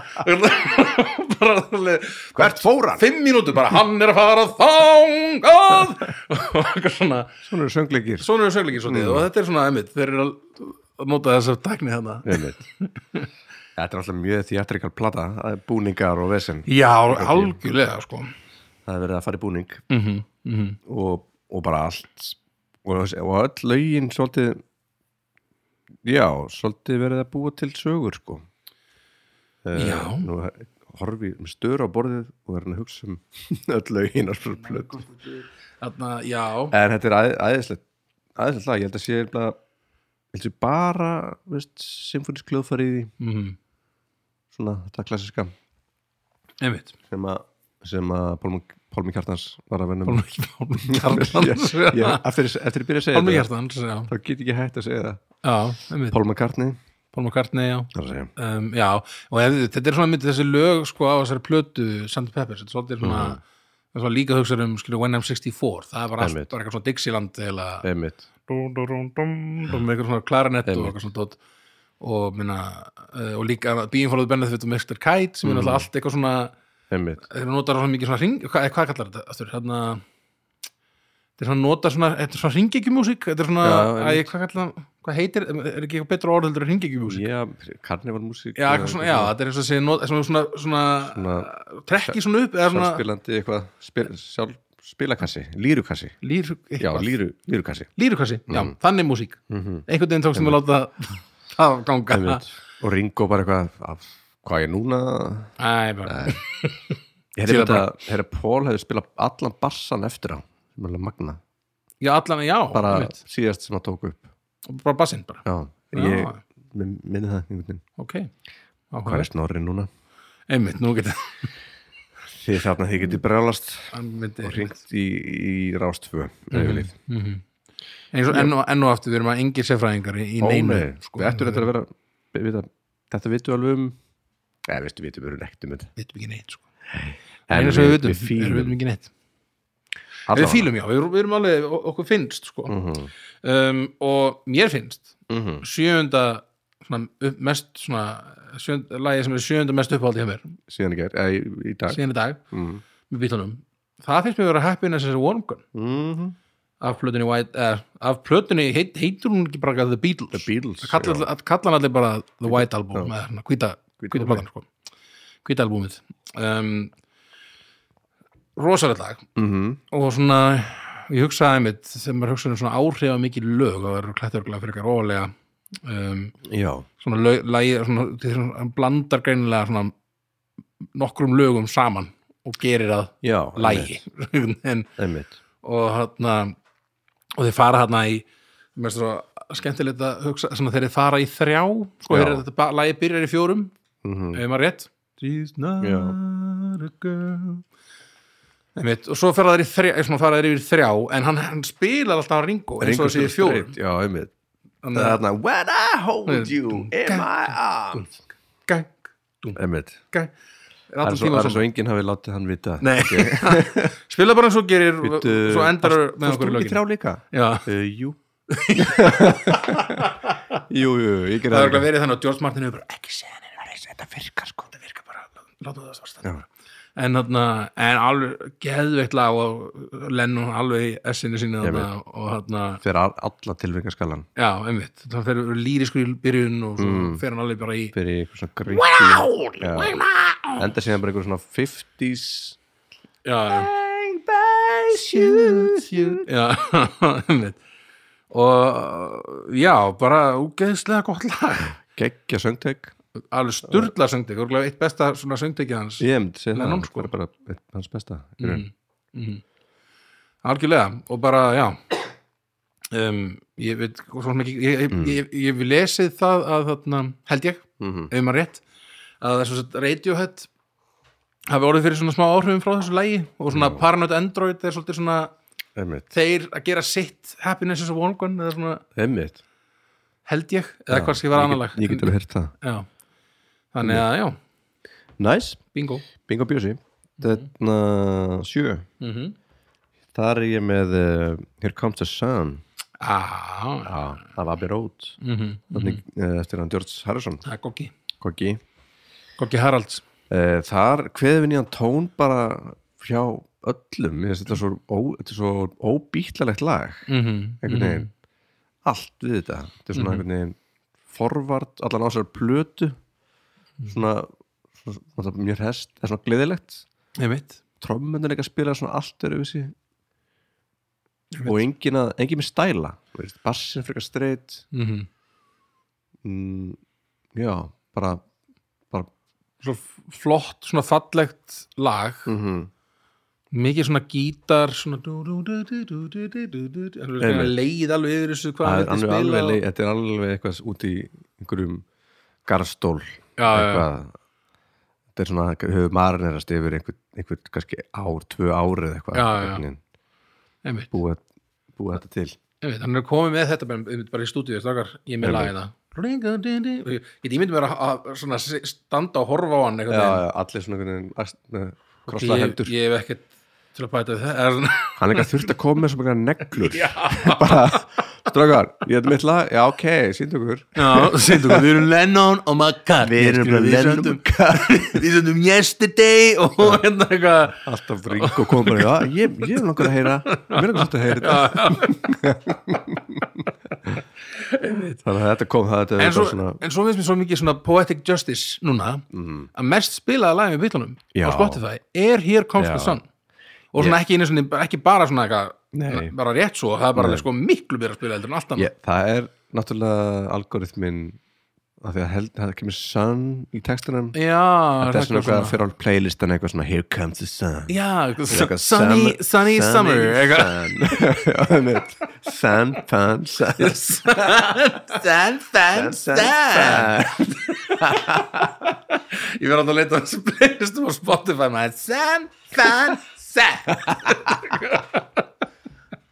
[SPEAKER 2] bara alveg
[SPEAKER 1] Hvert fór hann?
[SPEAKER 2] fimm mínútur bara, hann er að fara þangað og eitthvað svona Mm.
[SPEAKER 1] Svona eru söngleikir
[SPEAKER 2] svona eru sögleikir svolítið og þetta er svona emitt þeir eru að að nota þess að tækni þarna
[SPEAKER 1] Einmitt. *laughs* Þetta er alltaf mjög þjátrikal plata það er búningar og vesen
[SPEAKER 2] já, algjörlega sko
[SPEAKER 1] það er verið að fara í búning og, og bara allt og, og öll lögin svolítið já, svolítið verið að búa til sögur sko Eh,
[SPEAKER 2] Já.
[SPEAKER 1] nú horfi ég með störu á borðið og er hann að hugsa um *laughs* öll lögin á svo plötu
[SPEAKER 2] þarna, já,
[SPEAKER 1] en þetta er æð- æðislegt æðislegt lag, ég held að sé bara, held að sé bara veist, symfónisk hljóðfæri í því
[SPEAKER 2] mm,
[SPEAKER 1] svona þetta klassiska
[SPEAKER 2] emitt
[SPEAKER 1] sem að, sem að Pálmi, Pálmi Kjartans var að vennum
[SPEAKER 2] Pálmi Kjartans
[SPEAKER 1] *laughs* yeah, eftir, eftir ég byrja að segja
[SPEAKER 2] Pálmi
[SPEAKER 1] þetta-
[SPEAKER 2] Kjartans, já,
[SPEAKER 1] þá get ég ekki hægt að segja það
[SPEAKER 2] já, emitt
[SPEAKER 1] Paul McCartney
[SPEAKER 2] Pálmi Kjartni, já
[SPEAKER 1] það er að segja
[SPEAKER 2] um, já, og ef, þið- þetta er svona myndið þessi lög sko á þessari plötu Sand Peppers, þetta er svolítið svona
[SPEAKER 1] Mhm.
[SPEAKER 2] mm. Svo líka hugsa um skilur When I'm 64 það var allt
[SPEAKER 1] Einmitt.
[SPEAKER 2] bara eitthvað svona Dixieland eða
[SPEAKER 1] einmitt
[SPEAKER 2] með eitthvað svona klarinett og eitthvað svona dot og, minna, uh, og líka Being Followed Benefit og Mr. Kite
[SPEAKER 1] Mhm.
[SPEAKER 2] sem er náttúrulega allt eitthvað svona
[SPEAKER 1] einmitt
[SPEAKER 2] þeir notar svona mikið svona ring hvað, hvað kallar þetta? Aftur, hérna, þeir svona nota svona þetta er svona ringegjumúsík þetta er svona,
[SPEAKER 1] Já,
[SPEAKER 2] æ,
[SPEAKER 1] einmitt.
[SPEAKER 2] hvað kallar það? Hvað heitir, er ekki eitthvað betra orðheldur en ringegjumúsík?
[SPEAKER 1] já, eh, karnivalmúsík
[SPEAKER 2] Já, eitthvað svona, já, þetta er eins og sé not, svona, svona, svona,
[SPEAKER 1] Svona-
[SPEAKER 2] trekki svona upp eða svona
[SPEAKER 1] sjálfspilandi eitthvað spil, sjálf, spilakassi, lírukassi
[SPEAKER 2] lír,
[SPEAKER 1] já, líru, lírukassi
[SPEAKER 2] lírukassi, já,
[SPEAKER 1] Mm.
[SPEAKER 2] þannig músík einhvern veginn tókst þeim að láta *laughs* það ganga
[SPEAKER 1] Mhm. einmitt og Ringo bara eitthvað af, hvað er núna
[SPEAKER 2] Æ, bara,
[SPEAKER 1] ég
[SPEAKER 2] Síðan
[SPEAKER 1] hefði þetta, herra Paul hefði spilað allan bassan eftir á sem er alveg magna
[SPEAKER 2] já, allan, já,
[SPEAKER 1] bara
[SPEAKER 2] einmitt.
[SPEAKER 1] síðast sem hann tók upp
[SPEAKER 2] bara bassinn bara,
[SPEAKER 1] já, ég minn- minni það einhvern veginn
[SPEAKER 2] ok
[SPEAKER 1] hvað
[SPEAKER 2] Áhugavert.
[SPEAKER 1] er snorri núna
[SPEAKER 2] einmitt, nú getur
[SPEAKER 1] þið þarna þið getið brjálast og
[SPEAKER 2] einmitt,
[SPEAKER 1] ringt í, í rástfö mm.
[SPEAKER 2] eins og enn og, enn og aftur við erum að engir sérfræðingar í, í
[SPEAKER 1] Ó,
[SPEAKER 2] neinu
[SPEAKER 1] nei, sko, við ættum þetta að vera við, við, þetta vitum við alveg um eða veistu, vitum við nekt um þetta
[SPEAKER 2] við veitum ekki neitt sko.
[SPEAKER 1] En
[SPEAKER 2] einu sem við vitum,
[SPEAKER 1] við
[SPEAKER 2] við
[SPEAKER 1] fílum
[SPEAKER 2] veitum ekki neitt
[SPEAKER 1] allavega.
[SPEAKER 2] við fílum, já, við, erum- við erum alveg o- okkur finnst sko.
[SPEAKER 1] Mhm,
[SPEAKER 2] um, og mér finnst
[SPEAKER 1] mhm.
[SPEAKER 2] sjöunda svona, upp, mest svona sjönd, lagi sem er sjöunda mest uppáhaldi hjá mér
[SPEAKER 1] síðan í gær, eða í, í dag
[SPEAKER 2] síðan í dag,
[SPEAKER 1] Mhm.
[SPEAKER 2] með bílunum það finnst mér að vera happiness as a warm gun
[SPEAKER 1] Mhm.
[SPEAKER 2] af plötunni White, uh, af plötunni heit, heitur hún ekki bara The Beatles
[SPEAKER 1] The Beatles,
[SPEAKER 2] Það kalla, all- kalla hann allir bara The White Album eða svona hvíta,
[SPEAKER 1] Hvíta
[SPEAKER 2] hvíta
[SPEAKER 1] albúmið.
[SPEAKER 2] platan sko. hvíta albumið um, rosalegt lag
[SPEAKER 1] Mhm.
[SPEAKER 2] og svona ég hugsaði einmitt þegar maður hugsaði um svona áhrifa mikið lög og það eru klætturglega fyrir eitthvað rólega um,
[SPEAKER 1] já,
[SPEAKER 2] svona lög, lagi, svona, þetta er svona, hann blandar greinilega svona nokkrum lögum saman og gerir að
[SPEAKER 1] já
[SPEAKER 2] lægi *laughs* en
[SPEAKER 1] einmitt,
[SPEAKER 2] og hérna og þeir fara hérna í mér finnst svo skemmtilegt að hugsa svona, þeir fara í þrjá sko,
[SPEAKER 1] Já.
[SPEAKER 2] þeir, þetta ba- lagið byrjar í fjórum
[SPEAKER 1] einmitt. Mhm.
[SPEAKER 2] ef maður rétt She's not
[SPEAKER 1] Já.
[SPEAKER 2] a girl Einmitt, og svo fara þeir, í þrjá, svona, fara þeir yfir þrjá en hann, hann spilar alltaf hann Ringo eins
[SPEAKER 1] Ringo
[SPEAKER 2] og þessi í
[SPEAKER 1] Starr
[SPEAKER 2] fjórum
[SPEAKER 1] Strait, já, einmitt
[SPEAKER 2] Þannig
[SPEAKER 1] það
[SPEAKER 2] að-
[SPEAKER 1] er þarna, when I hold you in my arms
[SPEAKER 2] Gæ- dúm,
[SPEAKER 1] Einmitt.
[SPEAKER 2] okay. er
[SPEAKER 1] Það er
[SPEAKER 2] allan
[SPEAKER 1] svo, það
[SPEAKER 2] tíma
[SPEAKER 1] er svo
[SPEAKER 2] saman
[SPEAKER 1] enginn hafi látið hann vita
[SPEAKER 2] Nei, *laughs* spila bara eins og gerir svo endar með
[SPEAKER 1] Fórst
[SPEAKER 2] okkur í Eh,
[SPEAKER 1] þú í
[SPEAKER 2] lögin
[SPEAKER 1] þrjá líka?
[SPEAKER 2] Já,
[SPEAKER 1] Uh, jú *laughs* Jú, jú, ég gerði
[SPEAKER 2] það er
[SPEAKER 1] það
[SPEAKER 2] okkur
[SPEAKER 1] líka.
[SPEAKER 2] verið þannig að George Martin hefur bara ekki segja henni, bara, þetta virkar sko þetta virkar bara, láta það svart
[SPEAKER 1] Já.
[SPEAKER 2] standa bara. en þarna, en alveg geðveikt lag og Lennon alveg í essinu sínu
[SPEAKER 1] Ég
[SPEAKER 2] þarna og þarna,
[SPEAKER 1] Fyrir all- alla tilfingarskalan
[SPEAKER 2] já, einmitt það fer líriskur í byrjun og svo
[SPEAKER 1] Mm.
[SPEAKER 2] fer hann alveg bara í
[SPEAKER 1] Fyrir eitthvað svona gríkli Enda síðan bara eitthvað svona 50s
[SPEAKER 2] já, já
[SPEAKER 1] Shoot you
[SPEAKER 2] já, *laughs* einmitt og já, bara úgeðslega gott lag
[SPEAKER 1] Gekkja söngtek
[SPEAKER 2] alveg sturla söngdegi, örgulega eitt besta svona söngdegi hans
[SPEAKER 1] Ég hef séð það,
[SPEAKER 2] Lennon,
[SPEAKER 1] það
[SPEAKER 2] sko. Mm.
[SPEAKER 1] er bara eitt hans besta í raun.
[SPEAKER 2] algjörlega, og bara, já um, ég veit svo sem ekki, ég,
[SPEAKER 1] Mm.
[SPEAKER 2] ég, ég, ég hef lesið það að þarna, held ég
[SPEAKER 1] Mhm.
[SPEAKER 2] ef maður rétt, að þessu sett Radiohead hafi orðið fyrir svona smá áhrifum frá þessu lægi og svona Paranoid Android er svolítið svona
[SPEAKER 1] Einmitt,
[SPEAKER 2] þeir að gera sitt Happiness is a One Gun eða svona,
[SPEAKER 1] einmitt
[SPEAKER 2] held ég, eða
[SPEAKER 1] Já,
[SPEAKER 2] hvað sé var
[SPEAKER 1] ég get-
[SPEAKER 2] annarlag
[SPEAKER 1] Ég get alveg heyrt það
[SPEAKER 2] Já, þannig að já,
[SPEAKER 1] Næs,
[SPEAKER 2] bingo
[SPEAKER 1] bingo bjösi
[SPEAKER 2] Mhm.
[SPEAKER 1] Þetta sjö
[SPEAKER 2] mm -hmm.
[SPEAKER 1] Þar er ég með uh, Here Comes the Sun
[SPEAKER 2] ah,
[SPEAKER 1] af Abbey Road
[SPEAKER 2] mm -hmm.
[SPEAKER 1] Þannig, eh, eftir hann George Harrison
[SPEAKER 2] Það er Goggi
[SPEAKER 1] Koggi
[SPEAKER 2] Goggi Haralds
[SPEAKER 1] Eh, Þar kveðum við nýjan tón bara hjá öllum Mér finnst þetta svo, ó, þetta er svo óbýtlalegt lag
[SPEAKER 2] mm
[SPEAKER 1] einhvern veginn allt við þetta þetta er svona einhvern veginn forvart, allan á sér plötu svona, svona, svona mjög hest, það er svona gleðilegt
[SPEAKER 2] Mhm. Einmitt
[SPEAKER 1] trommöndan ekki að spila svona allt eru við sér og engin, að, engin með stæla þú veist, bassin frekar streitt
[SPEAKER 2] mm
[SPEAKER 1] mm, já, bara bara
[SPEAKER 2] Svo flott, svona fallegt lag
[SPEAKER 1] mm -hmm.
[SPEAKER 2] Mikið svona gítar svona dú, dú, dú, dú, dú, dú, dú, dú, dú, dú. Alveg svona
[SPEAKER 1] Einmitt.
[SPEAKER 2] leið alveg yfir þessu hvað
[SPEAKER 1] það
[SPEAKER 2] hann
[SPEAKER 1] er
[SPEAKER 2] vildi
[SPEAKER 1] alveg,
[SPEAKER 2] spila
[SPEAKER 1] alveg,
[SPEAKER 2] og-
[SPEAKER 1] leið- þetta er alveg eitthvað út í einhverjum garstól
[SPEAKER 2] Já, já, já.
[SPEAKER 1] eitthvað þetta er svona, höfum marinerast yfir einhver, einhver kannski ár, tvö árið eitthvað
[SPEAKER 2] Já, já.
[SPEAKER 1] einhvern veginn.
[SPEAKER 2] Einmitt,
[SPEAKER 1] búa, búa þetta til
[SPEAKER 2] einmitt, hann er komið með þetta bara, einmitt, bara í stúdíu, strákar, ég er með
[SPEAKER 1] Einmitt.
[SPEAKER 2] lagið það Ring-a-ding-ding. Og Ég ég myndi mér að, að svona, se- standa og horfa á hann einhvern veginn.
[SPEAKER 1] allir svona einhvern veginn
[SPEAKER 2] Ég-
[SPEAKER 1] krossaða hendur
[SPEAKER 2] Ég hef ekkert til að bæta við það
[SPEAKER 1] *laughs*
[SPEAKER 2] er-
[SPEAKER 1] hann er ekki þurft að koma með svona einhverja
[SPEAKER 2] *laughs*
[SPEAKER 1] neglur bara, ströggar, ég hefði mitt lag já ok, síndu ykkur
[SPEAKER 2] Já, segjum þú, við erum Lennon og McCartney
[SPEAKER 1] Við erum
[SPEAKER 2] skilur,
[SPEAKER 1] Lennon og
[SPEAKER 2] sömdum- Við söndum yesterday og hérna eitthvað
[SPEAKER 1] alltaf ring og koma bara, já, ég, ég er langar að heyra mér er langar svolítið að heyra þetta þannig að þetta kom það, þetta
[SPEAKER 2] en
[SPEAKER 1] er
[SPEAKER 2] svo,
[SPEAKER 1] bara svona mm.
[SPEAKER 2] en svo finnst mér svo mikið svona poetic justice núna að mest spilaða lagið með bílunum
[SPEAKER 1] Já.
[SPEAKER 2] á Spotify er Here Comes
[SPEAKER 1] Já.
[SPEAKER 2] the Sun og svona ekki, einu sinni, ekki bara svona
[SPEAKER 1] Nei.
[SPEAKER 2] eitthvað bara rétt svo, það er bara
[SPEAKER 1] Nei.
[SPEAKER 2] alveg sko miklu byrja að spila heldur en allt annað
[SPEAKER 1] ég, það er náttúrulega algoritmin að því að held, það kemur sun í textunum
[SPEAKER 2] Já,
[SPEAKER 1] þetta er svona
[SPEAKER 2] eitthvað
[SPEAKER 1] eitthvað fyrir á playlistan eitthvað svona here comes the sun
[SPEAKER 2] Já,
[SPEAKER 1] Eitthvað
[SPEAKER 2] sunny, sunny summer
[SPEAKER 1] *laughs*
[SPEAKER 2] eitthvað
[SPEAKER 1] summer Sun, fun, sun
[SPEAKER 2] Stand, stand, stand Ég verði að leita að þessu playlistum á Spotify maður San, san, san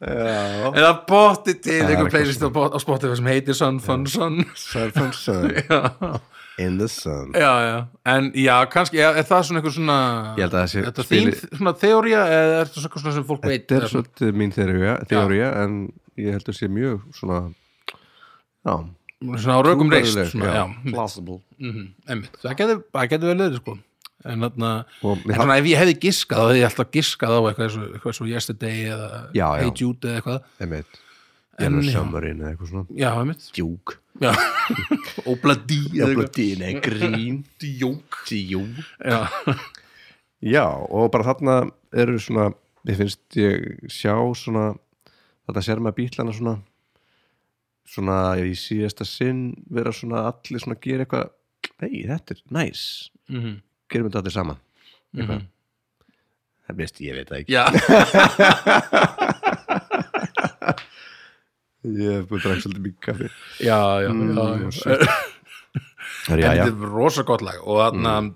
[SPEAKER 1] Já.
[SPEAKER 2] En það bótti til
[SPEAKER 1] er
[SPEAKER 2] einhver
[SPEAKER 1] eitthvað
[SPEAKER 2] playlist á, á Spotify sem heitir Sun, Fun, Sun
[SPEAKER 1] Sun, fun, sun
[SPEAKER 2] Já,
[SPEAKER 1] In the sun
[SPEAKER 2] já, já En já, kannski, er, er það svona einhver svona
[SPEAKER 1] Ég held að það sé
[SPEAKER 2] Þetta
[SPEAKER 1] spili-
[SPEAKER 2] þín svona teória eða er þetta svona sem fólk veit
[SPEAKER 1] Þetta er
[SPEAKER 2] eða svona-
[SPEAKER 1] svolítið mín þeirja, þeirja en ég heldur sé mjög svona Já,
[SPEAKER 2] svona á rökum reist
[SPEAKER 1] trúverðuleg,
[SPEAKER 2] svona, já, Mhm,
[SPEAKER 1] Plausible
[SPEAKER 2] einmitt, það getur, það getur vel verið sko en þarna,
[SPEAKER 1] Og
[SPEAKER 2] en
[SPEAKER 1] mér
[SPEAKER 2] svona ef ég hefði giskað þá hefði ég alltaf giskað á eitthvað eins og- eitthvað svo yesterday eða
[SPEAKER 1] Já, já.
[SPEAKER 2] hey Jude eða eitthvað
[SPEAKER 1] Einmitt
[SPEAKER 2] En
[SPEAKER 1] Yellow
[SPEAKER 2] já.
[SPEAKER 1] summerinn eða eitthvað svona
[SPEAKER 2] já, einmitt,
[SPEAKER 1] Djúk
[SPEAKER 2] já *laughs* Obladi eða eitthvað,
[SPEAKER 1] Jafnblöðin eða grín
[SPEAKER 2] *laughs* djók
[SPEAKER 1] Djúk
[SPEAKER 2] já,
[SPEAKER 1] Já, og bara þarna eru svona, mér finnst ég sjá svona, þetta sér maður bílana svona, svona í síðasta sinn vera svona allir svona gera eitthvað, ei, þetta er næs, nice.
[SPEAKER 2] mhm,
[SPEAKER 1] gerum þetta allir saman, eitthvað.
[SPEAKER 2] mhm.
[SPEAKER 1] Það best ég veit það ekki.
[SPEAKER 2] já,
[SPEAKER 1] Ég hef búin að drakk svolítið mikið kaffi.
[SPEAKER 2] já, já,
[SPEAKER 1] Mm,
[SPEAKER 2] já,
[SPEAKER 1] og
[SPEAKER 2] já.
[SPEAKER 1] shit. Það er já,
[SPEAKER 2] en
[SPEAKER 1] já.
[SPEAKER 2] þetta er rosa gott lag og þarna mm.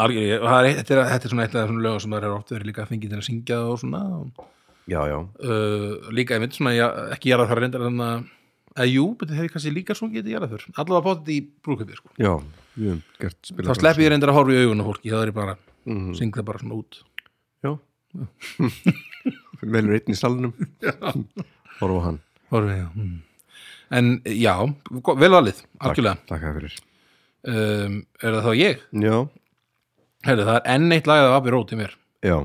[SPEAKER 2] algjörði, þetta er, þetta er svona eitt af þessum lögum sem það er oft verið líka að fengið til að syngja og svona og
[SPEAKER 1] Já, já.
[SPEAKER 2] Eh, uh, líka einmitt svona, já, ekki ég er að það reyndar en að eða jú, betur þegar ég kannski líka sungið þetta jarðaför allavega bóttið í brúkupið sko
[SPEAKER 1] já, við höfum gert spila
[SPEAKER 2] þá sleppi ég reyndar að horfa í augun á fólki þá er ég bara,
[SPEAKER 1] Mhm.
[SPEAKER 2] syng það bara svona út
[SPEAKER 1] *laughs* já velur einn í
[SPEAKER 2] *laughs*
[SPEAKER 1] salnum horfa á hann
[SPEAKER 2] horfið, já mm. en já, go- vel valið, algjörlega
[SPEAKER 1] takk það fyrir
[SPEAKER 2] um, er það þá ég?
[SPEAKER 1] já,
[SPEAKER 2] Herri, það er enn eitt lagið af Abbey Road í mér
[SPEAKER 1] já,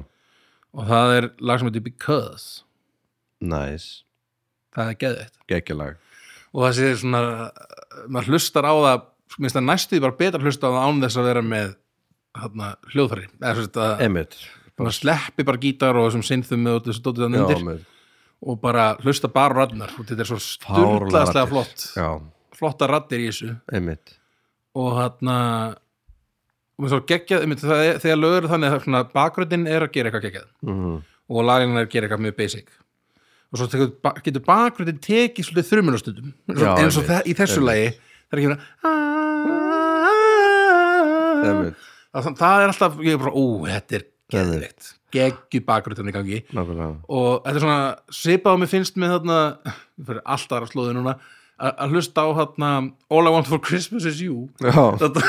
[SPEAKER 2] og það er lag sem heitir Because
[SPEAKER 1] næs
[SPEAKER 2] það er geðveitt
[SPEAKER 1] geggjalag
[SPEAKER 2] og það sé svona maður hlustar á það sko, minnst það næstuði bara betra að hlusta á það án þess að vera með hana, hljóðfæri eða svo þetta,
[SPEAKER 1] Emmett
[SPEAKER 2] maður sleppi bara gítar og þessum sinnþum með og þessu dótið þannig
[SPEAKER 1] já,
[SPEAKER 2] undir
[SPEAKER 1] með
[SPEAKER 2] og bara hlusta bara á radnar og þetta er svo
[SPEAKER 1] Fáránlegar
[SPEAKER 2] sturglaðslega
[SPEAKER 1] raddir.
[SPEAKER 2] flott
[SPEAKER 1] já,
[SPEAKER 2] flotta raddir í þessu
[SPEAKER 1] Emmett
[SPEAKER 2] og þarna og svo geggjað, einmitt, það er- þegar lögur þannig að svona bakgröndin er að gera eitthvað geggjað
[SPEAKER 1] mhm,
[SPEAKER 2] og lagin er að gera eitthvað mjög basic og svo tekur, ba- getur bakgröndin tekið svolítið þrumunastundum
[SPEAKER 1] Já,
[SPEAKER 2] eins og
[SPEAKER 1] einmitt,
[SPEAKER 2] það, í þessu
[SPEAKER 1] einmitt.
[SPEAKER 2] lagi það er ekki verið
[SPEAKER 1] Emmett,
[SPEAKER 2] að það, það er alltaf, ég er bara, ó, þetta er
[SPEAKER 1] Einmitt.
[SPEAKER 2] geðvikt, geggju bakgröndin í gangi
[SPEAKER 1] nákvæmlega
[SPEAKER 2] og þetta er svona svipað og mér finnst með þarna fyrir allt aðra slóði núna að að hlusta á þarna All I Want For Christmas Is You *laughs*
[SPEAKER 1] já,
[SPEAKER 2] þetta,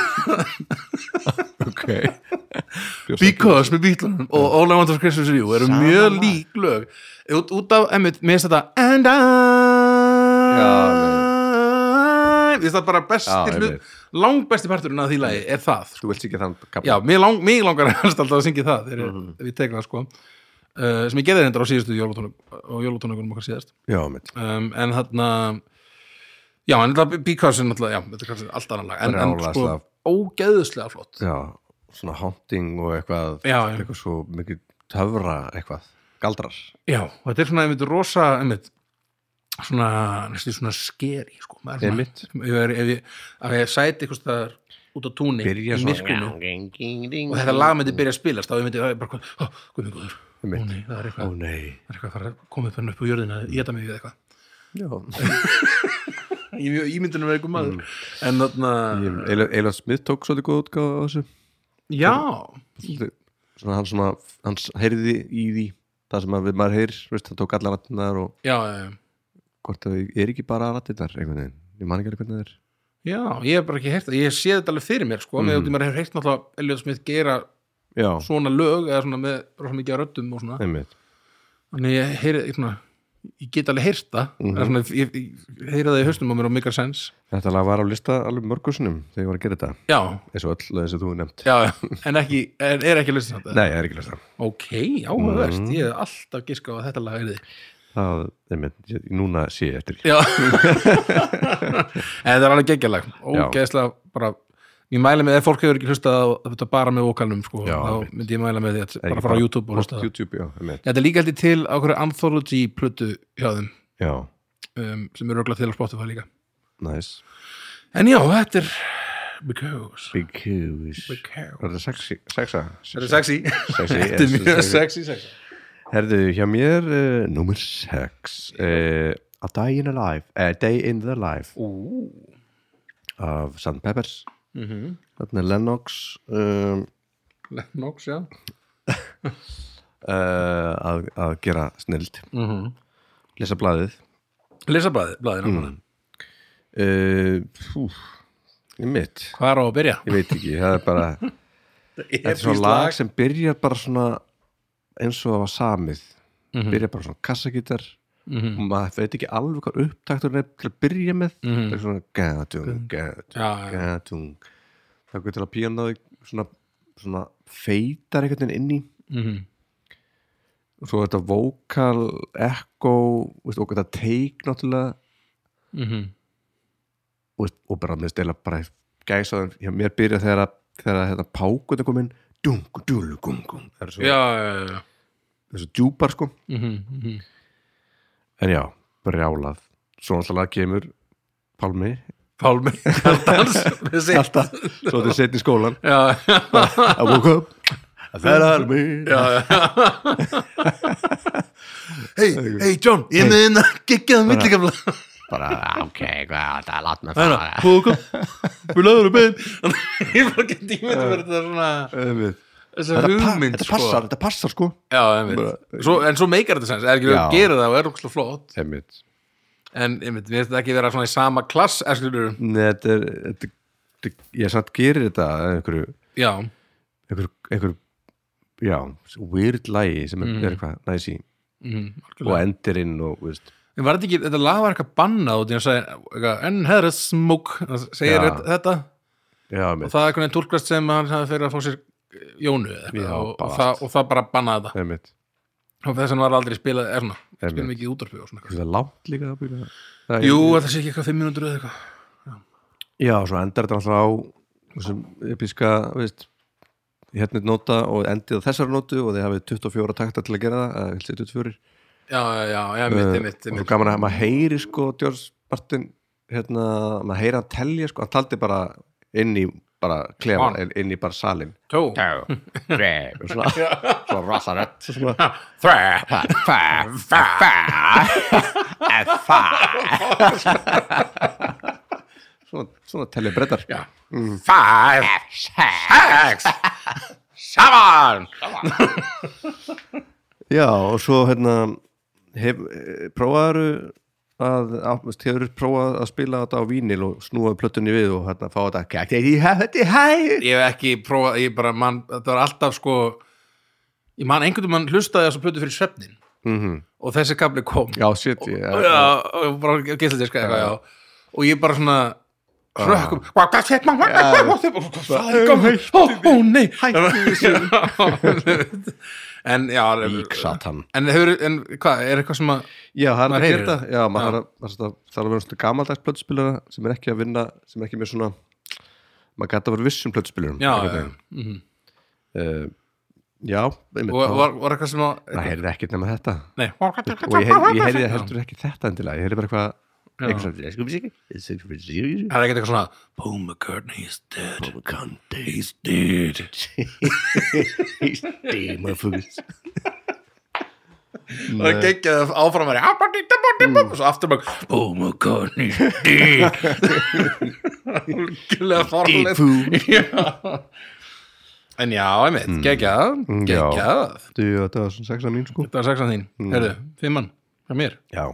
[SPEAKER 2] *laughs*
[SPEAKER 1] ok
[SPEAKER 2] Because með bítlunum og All I Want For Christmas Is You eru
[SPEAKER 1] Sama
[SPEAKER 2] mjög
[SPEAKER 1] lag.
[SPEAKER 2] lík lög út, út af, emmitt, mér finnst þetta And I Mér finnst þetta bara
[SPEAKER 1] Já,
[SPEAKER 2] bestir
[SPEAKER 1] einmitt.
[SPEAKER 2] hlut langbesti parturinn af því lagi er það sko.
[SPEAKER 1] þú vilt ekki þann
[SPEAKER 2] já, mig, lang, mig langar *laughs* helst alltaf að syngja það þegar
[SPEAKER 1] Mhm.
[SPEAKER 2] mm. við tekum það sko uh, sem ég geði hendur á síðustu jólatónum á jólatónunum okkar síðast
[SPEAKER 1] já, Emmett
[SPEAKER 2] um, en þarna já, en þetta Because er náttúrulega, já, þetta er kannski allt annan lag en, en sko,
[SPEAKER 1] Brjálæðislega.
[SPEAKER 2] ógeðslega flott já,
[SPEAKER 1] já, svona haunting og eitthvað
[SPEAKER 2] já, já,
[SPEAKER 1] eitthvað svo mikið töfra eitthvað galdrar
[SPEAKER 2] og þetta er svona einmitt rosa, einmitt svona, næstu svona skeri sko, maður er
[SPEAKER 1] Einmitt.
[SPEAKER 2] svona, ef ég er- ef ég, ef ég sæti eitthvað staðar út á túni
[SPEAKER 1] Byrja
[SPEAKER 2] í
[SPEAKER 1] svona-
[SPEAKER 2] myrkunum og þetta lag myndi byrja að spilast þá ég myndi, það er bara, oh, guð minn góður ó
[SPEAKER 1] Einmitt.
[SPEAKER 2] nei, það er
[SPEAKER 1] ó
[SPEAKER 2] eitthvað,
[SPEAKER 1] nei
[SPEAKER 2] það er eitthvað að fara að koma upp henni upp á jörðina, ég geta mig við eitthvað
[SPEAKER 1] já,
[SPEAKER 2] ég er mjög ímyndunum með eitthvað maður
[SPEAKER 1] Mm.
[SPEAKER 2] en þarna,
[SPEAKER 1] Eila Smith tók svolítið góð útgáð á þessu
[SPEAKER 2] já
[SPEAKER 1] Svolítið- svona hann svona, hann heyrði í því það sem að við maður heyr, veist, hann tók allar rattinnar og
[SPEAKER 2] já, já, já
[SPEAKER 1] hvort að það er ekki bara rattinnar einhvern veginn, ég man ekki alveg hvernig það er
[SPEAKER 2] Já, ég hef bara ekki heyrt það, ég sé þetta alveg fyrir mér sko, með því maður hefur heyrt náttúrulega Elliot Smith gera
[SPEAKER 1] Mhm. já,
[SPEAKER 2] svona lög eða svona með rosa mikið af röddum og svona
[SPEAKER 1] einmitt
[SPEAKER 2] þannig ég heyri, ég, svona, ég get alveg heyrt það
[SPEAKER 1] Mhm.
[SPEAKER 2] eða svona, ég, ég heyri það í haustum á mér og mikar sens
[SPEAKER 1] þetta lag var á lista alveg mörgursunum þegar ég var að gera þetta,
[SPEAKER 2] Já,
[SPEAKER 1] eins og öll lögin sem þú hefur nefnt
[SPEAKER 2] já, já, en ekki en er ekki að lista þetta?
[SPEAKER 1] nei, Mhm. það er ekki lista
[SPEAKER 2] Ok, áhugavert, ég hef alltaf giskað að þetta lag er þið
[SPEAKER 1] það, einmitt, ég- núna sé ég eftir því.
[SPEAKER 2] Já *laughs* En þetta er alveg geggjalag, ógeðslega bara Ég mæli með, ef fólk hefur ekki hlustað á þetta bara með vokalnum, sko,
[SPEAKER 1] Já,
[SPEAKER 2] þá
[SPEAKER 1] einmitt.
[SPEAKER 2] myndi ég mæla með því að
[SPEAKER 1] Er
[SPEAKER 2] bara
[SPEAKER 1] ekki
[SPEAKER 2] fara á YouTube og hlusta á það.
[SPEAKER 1] YouTube, já, einmitt
[SPEAKER 2] Þetta er líka heldur til á hverju anthology plötu hjá þeim
[SPEAKER 1] já,
[SPEAKER 2] um, sem eru örugglega til á Spotify líka
[SPEAKER 1] nice
[SPEAKER 2] En já, þetta er Because,
[SPEAKER 1] because
[SPEAKER 2] because.
[SPEAKER 1] Var þetta sexy? Sexa?
[SPEAKER 2] Þetta er sexy
[SPEAKER 1] Sexy,
[SPEAKER 2] Þetta er
[SPEAKER 1] yes,
[SPEAKER 2] mjög
[SPEAKER 1] sexy.
[SPEAKER 2] sexy, sexy
[SPEAKER 1] Herðu, hjá mér uh, Númer 6 uh, A Day in a Life A Day in the Life
[SPEAKER 2] Ú Mhm.
[SPEAKER 1] af Sand Peppers Þarna er Lennox um,
[SPEAKER 2] Lennox, já
[SPEAKER 1] uh, að, að gera snild
[SPEAKER 2] Mhm.
[SPEAKER 1] Lesa blaðið
[SPEAKER 2] Lesa blaðið, blaðið
[SPEAKER 1] Mhm.
[SPEAKER 2] mm.
[SPEAKER 1] uh, Fú Í mitt
[SPEAKER 2] Hvað er á að byrja?
[SPEAKER 1] Ég veit ekki, það er bara Þetta
[SPEAKER 2] E
[SPEAKER 1] er svona lag sem byrjar bara svona eins og það var samið
[SPEAKER 2] Mhm. Hmm.
[SPEAKER 1] byrjar bara svona kassagítar og maður veit ekki alveg hvað upptakturinn er til að byrja með það er svona gæðatung, gæðatung,
[SPEAKER 2] Hmm. Já, já,
[SPEAKER 1] gæðatung það er til að píanoði svona, svona feitar einhvern veginn inn í
[SPEAKER 2] Mhm.
[SPEAKER 1] og svo þetta vókal, echo veist, og þetta teik náttúrulega
[SPEAKER 2] Mhm.
[SPEAKER 1] og, og bara með stela bara gæsa það, hjá mér byrja þegar að þegar að þetta pákut er komin dung, dung, dung, dung það er svo,
[SPEAKER 2] já, já, já.
[SPEAKER 1] það er svo djúpar sko
[SPEAKER 2] Mhm, mhm.
[SPEAKER 1] En já, brjálað Svo alltaf kemur Pálmi
[SPEAKER 2] Pálmi Kaldans Þessi
[SPEAKER 1] Alltaf, svo þetta er setn í skólan
[SPEAKER 2] Já, já,
[SPEAKER 1] I woke up, I fell out of me
[SPEAKER 2] já Hey, hey John Ég er með hérna geggjað millikafla
[SPEAKER 1] Bara, "Ah, ok, hvað, það er látt með
[SPEAKER 2] Hérna, hóka Við laður upp einn Ég bara get tímið að vera þetta svona
[SPEAKER 1] Þetta,
[SPEAKER 2] Þessa
[SPEAKER 1] pa
[SPEAKER 2] hugmynd
[SPEAKER 1] þetta passar, þetta passar sko
[SPEAKER 2] Já, einmitt svo, En svo meikar þetta sens Er ekki verið að
[SPEAKER 1] Já.
[SPEAKER 2] gera það og er okkur slá flott
[SPEAKER 1] Einmitt
[SPEAKER 2] en einmitt, við þetta ekki vera svona í sama klass eskilur,
[SPEAKER 1] Nei, þetta er, þetta, þetta, ég samt gerir þetta að einhverju,
[SPEAKER 2] já,
[SPEAKER 1] einhverju, einhverju já, weird lagi sem er,
[SPEAKER 2] Mhm.
[SPEAKER 1] er eitthvað næs í
[SPEAKER 2] mm,
[SPEAKER 1] og endir inn og, veist,
[SPEAKER 2] en var þetta ekki, þetta lag var eitthvað bannað og það sagði, eitthvað, en herra smúk það segir
[SPEAKER 1] Já.
[SPEAKER 2] þetta- þetta
[SPEAKER 1] já,
[SPEAKER 2] og
[SPEAKER 1] mitt,
[SPEAKER 2] það er einhvern veginn tólkast sem hann hafði fyrir að fá sér Jónu eða eitthvað
[SPEAKER 1] Já,
[SPEAKER 2] og, og,
[SPEAKER 1] bara
[SPEAKER 2] það,
[SPEAKER 1] allt.
[SPEAKER 2] og það bara bannaði þetta
[SPEAKER 1] það er mitt
[SPEAKER 2] og þess að hann var aldrei spilað, er svona,
[SPEAKER 1] Einmitt.
[SPEAKER 2] spilum ekki í útvarpi og svona eitthvað.
[SPEAKER 1] það er langt líka að byrja það er-
[SPEAKER 2] Jú, það sé ekki eitthvað 5 minútur eða eitthvað
[SPEAKER 1] já, svo endar þetta alltaf á þessum episka, veist hérna er nota og endið á þessari nótu og þið hafið 24 takta til að gera það eða viltu 24
[SPEAKER 2] Já, já, já, já, mitt,
[SPEAKER 1] Eh,
[SPEAKER 2] mitt,
[SPEAKER 1] og svo
[SPEAKER 2] mitt
[SPEAKER 1] gaman að maður heyri sko George Martin hérna, maður heyri hann telja sko, hann taldi bara inn í bara klefa, inn í bara salin
[SPEAKER 2] Tó,
[SPEAKER 1] Two, three og svona, svo rosa rödd svona,
[SPEAKER 2] þræ
[SPEAKER 1] fa, fa, fa fa svona, svona telja brettar
[SPEAKER 2] Já, five, sex, seven
[SPEAKER 1] *laughs* já, og svo hérna hef, eh, prófaðu að, að veist, hefur prófað að spila þetta á vínil og snúa plötunni við og hérna fá þetta "Get it, have it, have it."
[SPEAKER 2] Ég hef ekki prófað, ég bara, man, þetta var alltaf sko Ég man einhvern veginn hlustaði þessu plötu fyrir svefnin
[SPEAKER 1] Mhm.
[SPEAKER 2] og þessi kafli kom
[SPEAKER 1] já, shit ég,
[SPEAKER 2] já, og bara geisladiska eitthvað, já og ég bara svona hrökkum hvað er þetta, hvað er þetta hvað er þetta, ó, ó, nei hætti en já
[SPEAKER 1] Vík satan
[SPEAKER 2] en hefur, en hvað, er eitthvað sem að
[SPEAKER 1] Já, það er
[SPEAKER 2] Maður
[SPEAKER 1] að
[SPEAKER 2] heyrir
[SPEAKER 1] geta Já, maður þarf að, þarf að vera svona gamaldags plötspilara sem er ekki að vinna, sem er ekki með svona maður gæti að vera um vissum plötspilurum
[SPEAKER 2] já,
[SPEAKER 1] já, uh, já einmitt,
[SPEAKER 2] og
[SPEAKER 1] og,
[SPEAKER 2] var, var eitthvað sem að
[SPEAKER 1] það heyrði ekkert nema þetta
[SPEAKER 2] nei,
[SPEAKER 1] og ég heyrði, ég heyrði heldur ekki þetta endilega ég heyrði bara eitthvað eitthvað
[SPEAKER 2] það er ekkert eitthvað svona Paul McCartney is dead
[SPEAKER 1] He's dead He's dead, motherfuckers
[SPEAKER 2] og það geggjaði áfram væri og svo aftur bara "Oh Paul McCartney is dead *laughs* hlugilega
[SPEAKER 1] Dead
[SPEAKER 2] farlegt
[SPEAKER 1] fool
[SPEAKER 2] *laughs* Já. En já, einmitt, mm. geggjað,
[SPEAKER 1] já.
[SPEAKER 2] geggjað.
[SPEAKER 1] Þú, þetta var svona sexa mín sko
[SPEAKER 2] Þetta var sexan þín, mm. heyrðu, fimmann hjá mér.
[SPEAKER 1] Já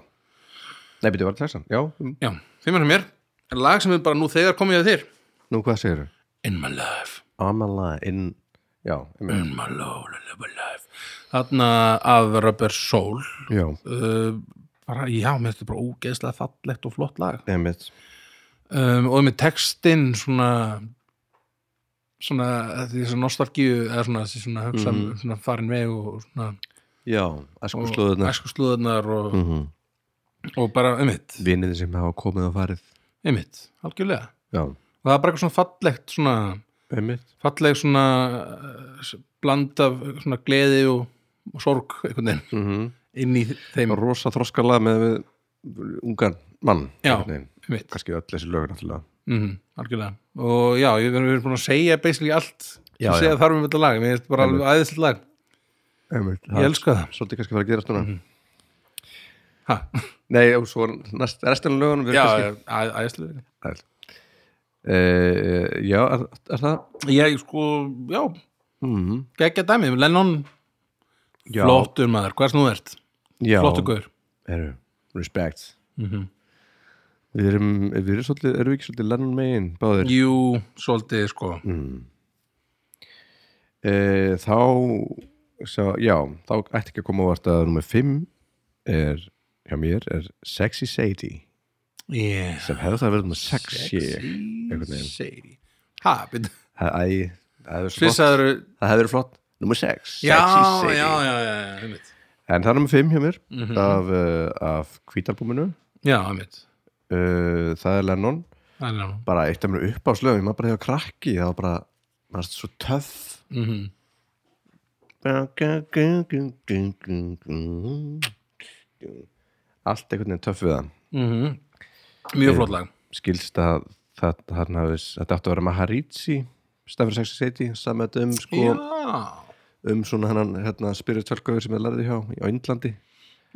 [SPEAKER 1] Nei, byrju, var þetta sexan? Já, um,
[SPEAKER 2] Já, fimmann hjá mér. En lag sem er bara nú þegar komið að þér.
[SPEAKER 1] nú hvað segirðu?
[SPEAKER 2] In my life,
[SPEAKER 1] Amala in já, einmitt.
[SPEAKER 2] in my love, in my life. Þarna af Rubber Soul.
[SPEAKER 1] já,
[SPEAKER 2] Uh, bara, já, mér þetta bara ógeðslega fallegt og flott lag.
[SPEAKER 1] einmitt
[SPEAKER 2] Um, og með textinn svona svona, því þessi nostalgíu eða svona, þessi svona, hugsa,
[SPEAKER 1] Mhm.
[SPEAKER 2] mm. svona farin veg og svona
[SPEAKER 1] já, æsku slóðuna
[SPEAKER 2] æsku slúðunar og,
[SPEAKER 1] mm -hmm.
[SPEAKER 2] og bara einmitt
[SPEAKER 1] vinniði sem hafa komið og farið
[SPEAKER 2] einmitt, algjörlega
[SPEAKER 1] já,
[SPEAKER 2] og það er bara eitthvað svona fallegt svona,
[SPEAKER 1] einmitt
[SPEAKER 2] falleg svona eh, s- bland af svona gleði og, og sorg einhvern veginn
[SPEAKER 1] mm
[SPEAKER 2] inn í þeim
[SPEAKER 1] rosa þroskala með við ungan mann
[SPEAKER 2] Já.
[SPEAKER 1] einhvern veginn.
[SPEAKER 2] mitt,
[SPEAKER 1] kannski öll þessi lög náttúrulega
[SPEAKER 2] mm algjörlega og já, ég- við erum búin að segja basically allt
[SPEAKER 1] Já,
[SPEAKER 2] sem segja
[SPEAKER 1] já.
[SPEAKER 2] þarf um þetta lag, mér finnst bara alveg aðeinslega lag
[SPEAKER 1] einmitt,
[SPEAKER 2] ég elska það
[SPEAKER 1] svolítið kannski fara að gera stundar mm
[SPEAKER 2] Mhm.
[SPEAKER 1] -hmm.
[SPEAKER 2] ha,
[SPEAKER 1] nei, og svo næst, restin af lögunum
[SPEAKER 2] já, aðeinslega
[SPEAKER 1] já, uh, já er, er það
[SPEAKER 2] ég sko, já,
[SPEAKER 1] mm -hmm.
[SPEAKER 2] geggja dæmi Lennon,
[SPEAKER 1] já,
[SPEAKER 2] flottur maður hvers nú ert,
[SPEAKER 1] já.
[SPEAKER 2] flottur Mhm. gaur
[SPEAKER 1] Heru, respect Við erum, við erum svolítið, erum við ekki svolítið Lennon megin báðir?
[SPEAKER 2] jú, svolítið sko
[SPEAKER 1] Mm. e, þá svo, já, þá ætti ekki að koma á vart að nummer 5 er hjá mér er Sexy Sadie
[SPEAKER 2] yeah.
[SPEAKER 1] sem hefði það að vera nummer 6 ég, einhvern veginn.
[SPEAKER 2] Sexy Ha,
[SPEAKER 1] *laughs*
[SPEAKER 2] byrju
[SPEAKER 1] það æ, það hefði verið svo flott,
[SPEAKER 2] Svissaður
[SPEAKER 1] það hefði verið flott nummer 6,
[SPEAKER 2] Já,
[SPEAKER 1] Sexy
[SPEAKER 2] já,
[SPEAKER 1] Sadie
[SPEAKER 2] já, já, já, einmitt
[SPEAKER 1] en það er nummer 5 hjá mér af, uh, af hvítalbúminu
[SPEAKER 2] Já, einmitt
[SPEAKER 1] uh, það er Lennon
[SPEAKER 2] Það er nú
[SPEAKER 1] bara eitt af mér upp á slöfum, maður bara hefði að krakki það var bara, maður er svo töff
[SPEAKER 2] Mhm.
[SPEAKER 1] allt einhvern veginn töff við hann
[SPEAKER 2] Mhm. Mjög flott lag
[SPEAKER 1] skilst að það, hann hafi, þetta átti að vera Maharishi stafir 6 seti, samet um sko,
[SPEAKER 2] Já,
[SPEAKER 1] um svona hennan hérna, spiritualgöður sem ég lærði hjá í- á Índlandi